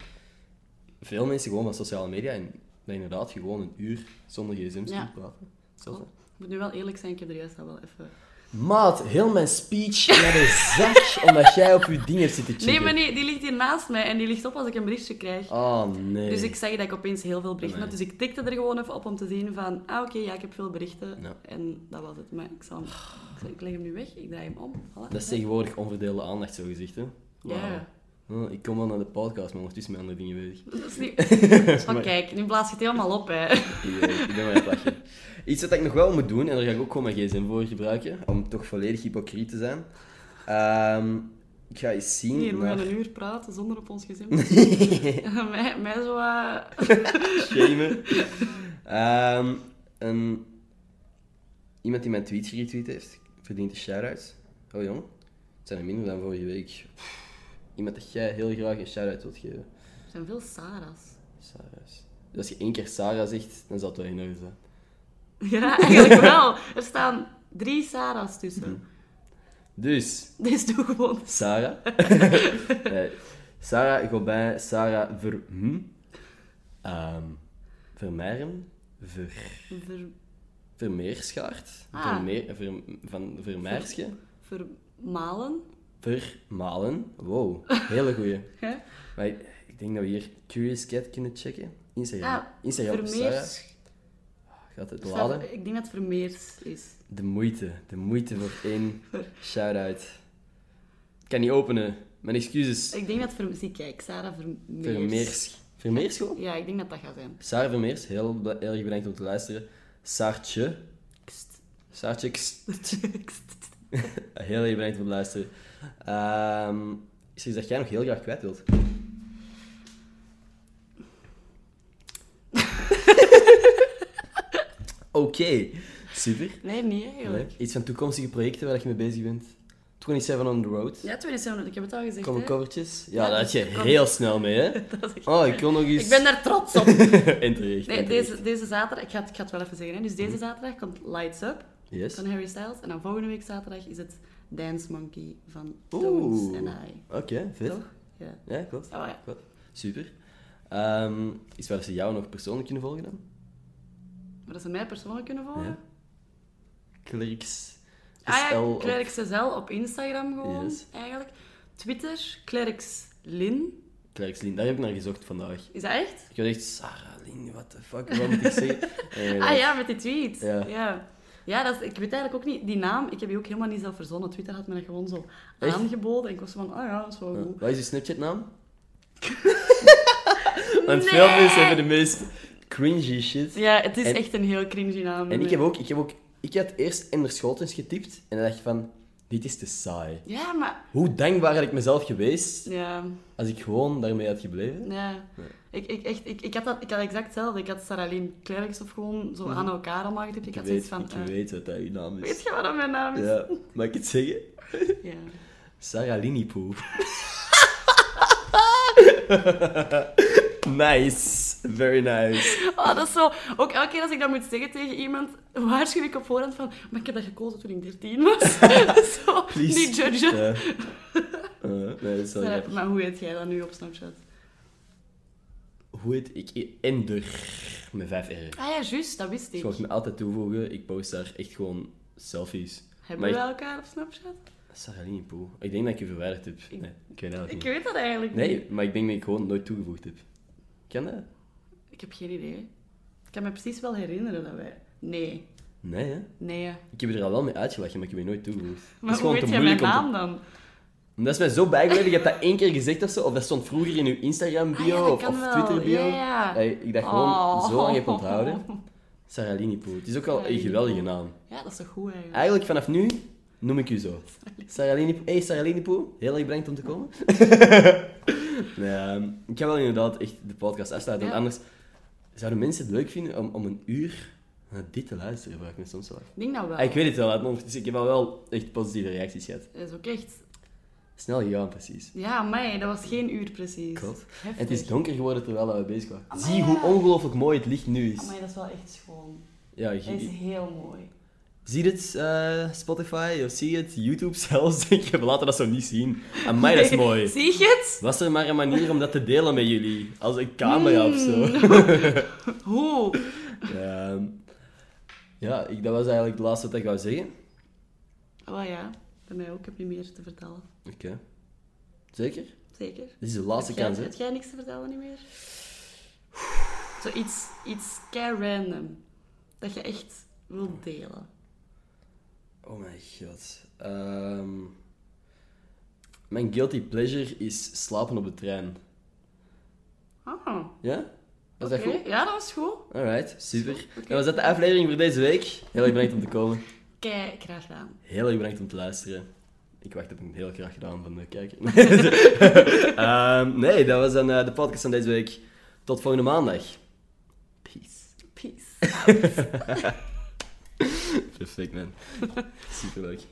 S1: Veel mensen gewoon van sociale media en dat inderdaad gewoon een uur zonder gsm's
S2: Ja.
S1: kunt praten. Zelfs al.
S2: Ik moet nu wel eerlijk zijn, ik heb er juist al wel even...
S1: Maat, heel mijn speech naar de zak, omdat jij op je ding hebt zitten checken.
S2: Nee, maar nee, die ligt hier naast mij en die ligt op als ik een berichtje krijg.
S1: Oh, nee.
S2: Dus ik zag dat ik opeens heel veel berichten
S1: Nee.
S2: had. Dus ik tikte er gewoon even op om te zien van... Ah, oké, ja, ik heb veel berichten.
S1: Ja.
S2: En dat was het. Maar ik, zal, ik, zal- ik leg hem nu weg, ik draai hem om. Voilà.
S1: Dat is tegenwoordig onverdeelde aandacht, zo gezegd, hè?
S2: Ja.
S1: Wauw. Hm, Ik kom wel naar de podcast, maar ondertussen met andere dingen bezig.
S2: Dat is niet... Maar kijk, nu blaas je het helemaal op, hè.
S1: Ik, eh, ik ben maar aan het lachen. Iets wat ik nog wel moet doen, en daar ga ik ook gewoon mijn gsm voor gebruiken, om toch volledig hypocriet te zijn. Ehm, ik ga eens zien...
S2: Hier, we
S1: maar-
S2: gaan een uur praten zonder op ons gezin. mij, mij zo... eh,
S1: shamen. Ehm, een... Iemand die mijn tweets geretweet heeft, verdient een shout-out. Oh jong, het zijn er minder dan vorige week. Iemand dat jij heel graag een shout-out wilt geven.
S2: Er zijn veel Sarah's.
S1: Sarah's. Dus als je één keer Sarah zegt, dan zal het wel in orde zijn.
S2: Ja, eigenlijk wel. Er staan drie Sarah's tussen.
S1: Mhm. Dus,
S2: Dus doe gewoon...
S1: Sarah. nee. Sarah Gobin, Sarah Ver... Hm? Ehm, Vermeijren? Ver...
S2: Ver...
S1: Vermeerschaart?
S2: Ah.
S1: Vermeer, ver, van Vermeerske?
S2: Vermalen.
S1: Vermalen? Wow, hele goeie.
S2: Hè?
S1: Maar ik, ik denk dat we hier Curious Cat kunnen checken. Instagram.
S2: Ah,
S1: Instagram van Sarah.
S2: Vermeers.
S1: Gaat het
S2: Staat-
S1: laden?
S2: Ik denk dat het Vermeers is.
S1: De moeite. De moeite voor één shout-out. Ik kan niet openen. Mijn excuses.
S2: Ik denk dat Vermeers... Zie, kijk, Sarah Vermeers.
S1: Vermeers. Vermeers gewoon?
S2: Ja, ik denk dat dat gaat zijn.
S1: Sarah Vermeers, heel, bl- heel erg bedankt om te luisteren. Saartje.
S2: Kst.
S1: Saartje, kst.
S2: Kst.
S1: heel erg bedankt om te luisteren. Ehm, is er iets dat jij nog heel graag kwijt wilt? Oké, super.
S2: Nee, niet eigenlijk.
S1: Leuk. Iets van toekomstige projecten waar je mee bezig bent. 27 on the road.
S2: Ja, 27, ik heb het al gezegd.
S1: Common
S2: hè.
S1: covertjes. Ja,
S2: Ja,
S1: daar had je
S2: kom.
S1: heel snel mee, hè?
S2: Dat is echt-
S1: Oh, ik kon nog eens...
S2: Ik ben daar trots op.
S1: en terecht,
S2: Nee,
S1: en
S2: deze, deze zaterdag, ik ga, het, ik ga het wel even zeggen. Hè. Dus deze zaterdag komt Lights Up
S1: Mhm. Yes.
S2: van Harry Styles. En dan volgende week zaterdag is het Dance Monkey van Tones
S1: Oeh.
S2: en I.
S1: Oké, vet.
S2: Toch? Ja.
S1: Ja, klopt.
S2: Oh ja.
S1: Klopt. Super. Ehm, is waar ze jou nog persoonlijk kunnen volgen dan?
S2: Maar dat ze mij persoonlijk kunnen volgen.
S1: Ja. Clerks.
S2: Ah
S1: SL
S2: ja,
S1: Dus op-
S2: Clerics SL op Instagram gewoon,
S1: Yes.
S2: eigenlijk. Twitter, Clerics Lin.
S1: Clerks Lin, daar heb ik naar gezocht vandaag.
S2: Is dat echt?
S1: Ik had echt, Sarah Lin, what the fuck, wat moet ik zeggen? Eh, En,
S2: Ah ja, met die tweet.
S1: Ja.
S2: Ja, ja. dat is, ik weet eigenlijk ook niet, die naam, ik heb die ook helemaal niet zelf verzonnen. Twitter had me dat gewoon zo
S1: Echt?
S2: aangeboden. En ik was zo van, ah ja, dat is wel
S1: eh,
S2: goed.
S1: Wat is je Snapchat-naam? Want
S2: Nee!
S1: veel mensen hebben de meest cringy shit.
S2: Ja, het is
S1: En-
S2: echt een heel cringy naam.
S1: En ik heb ook, ik heb ook, ik had eerst Ender Schotens getypt en dan dacht ik van, dit is te saai.
S2: Ja, maar...
S1: Hoe dankbaar had ik mezelf geweest
S2: Ja,
S1: als ik gewoon daarmee had gebleven?
S2: ja.
S1: Nee.
S2: Ik, ik, echt, ik, ik, had dat, ik had exact hetzelfde. Ik had Saralien Clerics of gewoon zo aan elkaar allemaal getipt. Ik
S1: Mhm. Ik
S2: had zoiets
S1: weet,
S2: van,
S1: ik
S2: eh,
S1: weet wat dat je naam
S2: weet
S1: is.
S2: je wat dat mijn naam is?
S1: Ja, mag ik het zeggen?
S2: ja.
S1: Sarah Linipoe. nice. Very nice.
S2: Oh, dat is zo. Ook elke keer als ik dat moet zeggen tegen iemand, waarschuw ik op voorhand van. Maar ik heb dat gekozen toen ik 13 was. zo,
S1: Please.
S2: niet judgen.
S1: Ja. Eh, nee, dat is wel
S2: Eh,
S1: grappig.
S2: maar hoe heet jij dat nu op Snapchat?
S1: Hoe heet ik? Ender. Met 5 R.
S2: Ah ja, juist, dat wist
S1: Dus
S2: ik.
S1: je mag me altijd toevoegen. Ik post daar echt gewoon selfies.
S2: Hebben we
S1: Maar
S2: elkaar op Snapchat?
S1: ik... Sarah Linipoe. Ik denk dat ik je verwijderd heb. Nee, ik weet dat
S2: Ik
S1: niet.
S2: weet dat eigenlijk niet.
S1: Nee, maar ik denk dat ik gewoon nooit toegevoegd heb. Ken dat?
S2: Ik heb geen idee. Ik kan me precies wel herinneren dat wij. Nee,
S1: Nee, hè?
S2: nee.
S1: Ik heb je er al wel mee uitgelachen, maar ik heb je nooit toegevoegd. Het
S2: Maar hoe weet jij mijn
S1: moeilijk om te-
S2: naam dan?
S1: Dat is mij zo bijgebleven. Je hebt dat één keer gezegd of zo. Of dat stond vroeger in je Instagram
S2: Ah ja,
S1: bio
S2: dat
S1: of,
S2: kan
S1: of
S2: wel.
S1: Twitter bio.
S2: Ja, ja.
S1: Hey, ik dacht gewoon,
S2: Oh.
S1: zo lang heb onthouden. Sarah Linipoel. Het is ook wel een geweldige naam.
S2: Ja, dat is toch goed eigenlijk.
S1: Eigenlijk vanaf nu noem ik u zo. Sarah Linipoel. Hey Sarah Linipoel, heel erg bedankt om te komen. nee, ehm, ik ga wel inderdaad echt de podcast afsluiten,
S2: Ja.
S1: want anders zouden mensen het leuk vinden om, om een uur naar dit te luisteren, vraag ik me soms wel. af.
S2: Ik denk dat wel.
S1: Ah, ik weet het wel, want ondertussen- ik heb al wel echt positieve reacties gehad.
S2: Dat is ook echt...
S1: Snel gegaan, precies.
S2: Ja, maar dat was geen uur precies.
S1: Klopt. En
S2: Heftig.
S1: het is donker geworden terwijl we bezig waren.
S2: Amai.
S1: Zie hoe ongelooflijk mooi het licht nu is.
S2: Amai, dat is wel echt schoon.
S1: Ja,
S2: Dat is
S1: je,
S2: heel mooi.
S1: zie het eh, Spotify, of zie het YouTube zelfs. Ik heb laten dat zo niet zien. Amai, dat is mooi.
S2: Zie je het?
S1: Was er maar een manier om dat te delen met jullie? Als een camera of
S2: Mm.
S1: zo.
S2: Hoe?
S1: Ehm, ja, ik, dat was eigenlijk het laatste wat ik wou zeggen.
S2: Oh ja, bij mij ook heb je meer te vertellen.
S1: Oké. Zeker?
S2: Zeker.
S1: Dit is de laatste
S2: Heb jij-
S1: kans, hè?
S2: Heb jij niks te vertellen niet meer? Zoiets iets kei random. Dat je echt wilt delen.
S1: Oh mijn god. Ehm, mijn guilty pleasure is slapen op de trein.
S2: Ah,
S1: Ja? Was
S2: oké.
S1: dat goed?
S2: Ja, dat was goed.
S1: Alright, super.
S2: Oké.
S1: Dan was dat de aflevering voor deze week. Heel erg bedankt om te komen.
S2: Kei, graag gedaan.
S1: Heel erg bedankt om te luisteren. Ik wacht op een heel graag gedaan van de kijker. Ehm, nee, dat was dan, eh, de podcast van deze week. Tot volgende maandag. Peace.
S2: Peace.
S1: Perfect, man. Superleuk.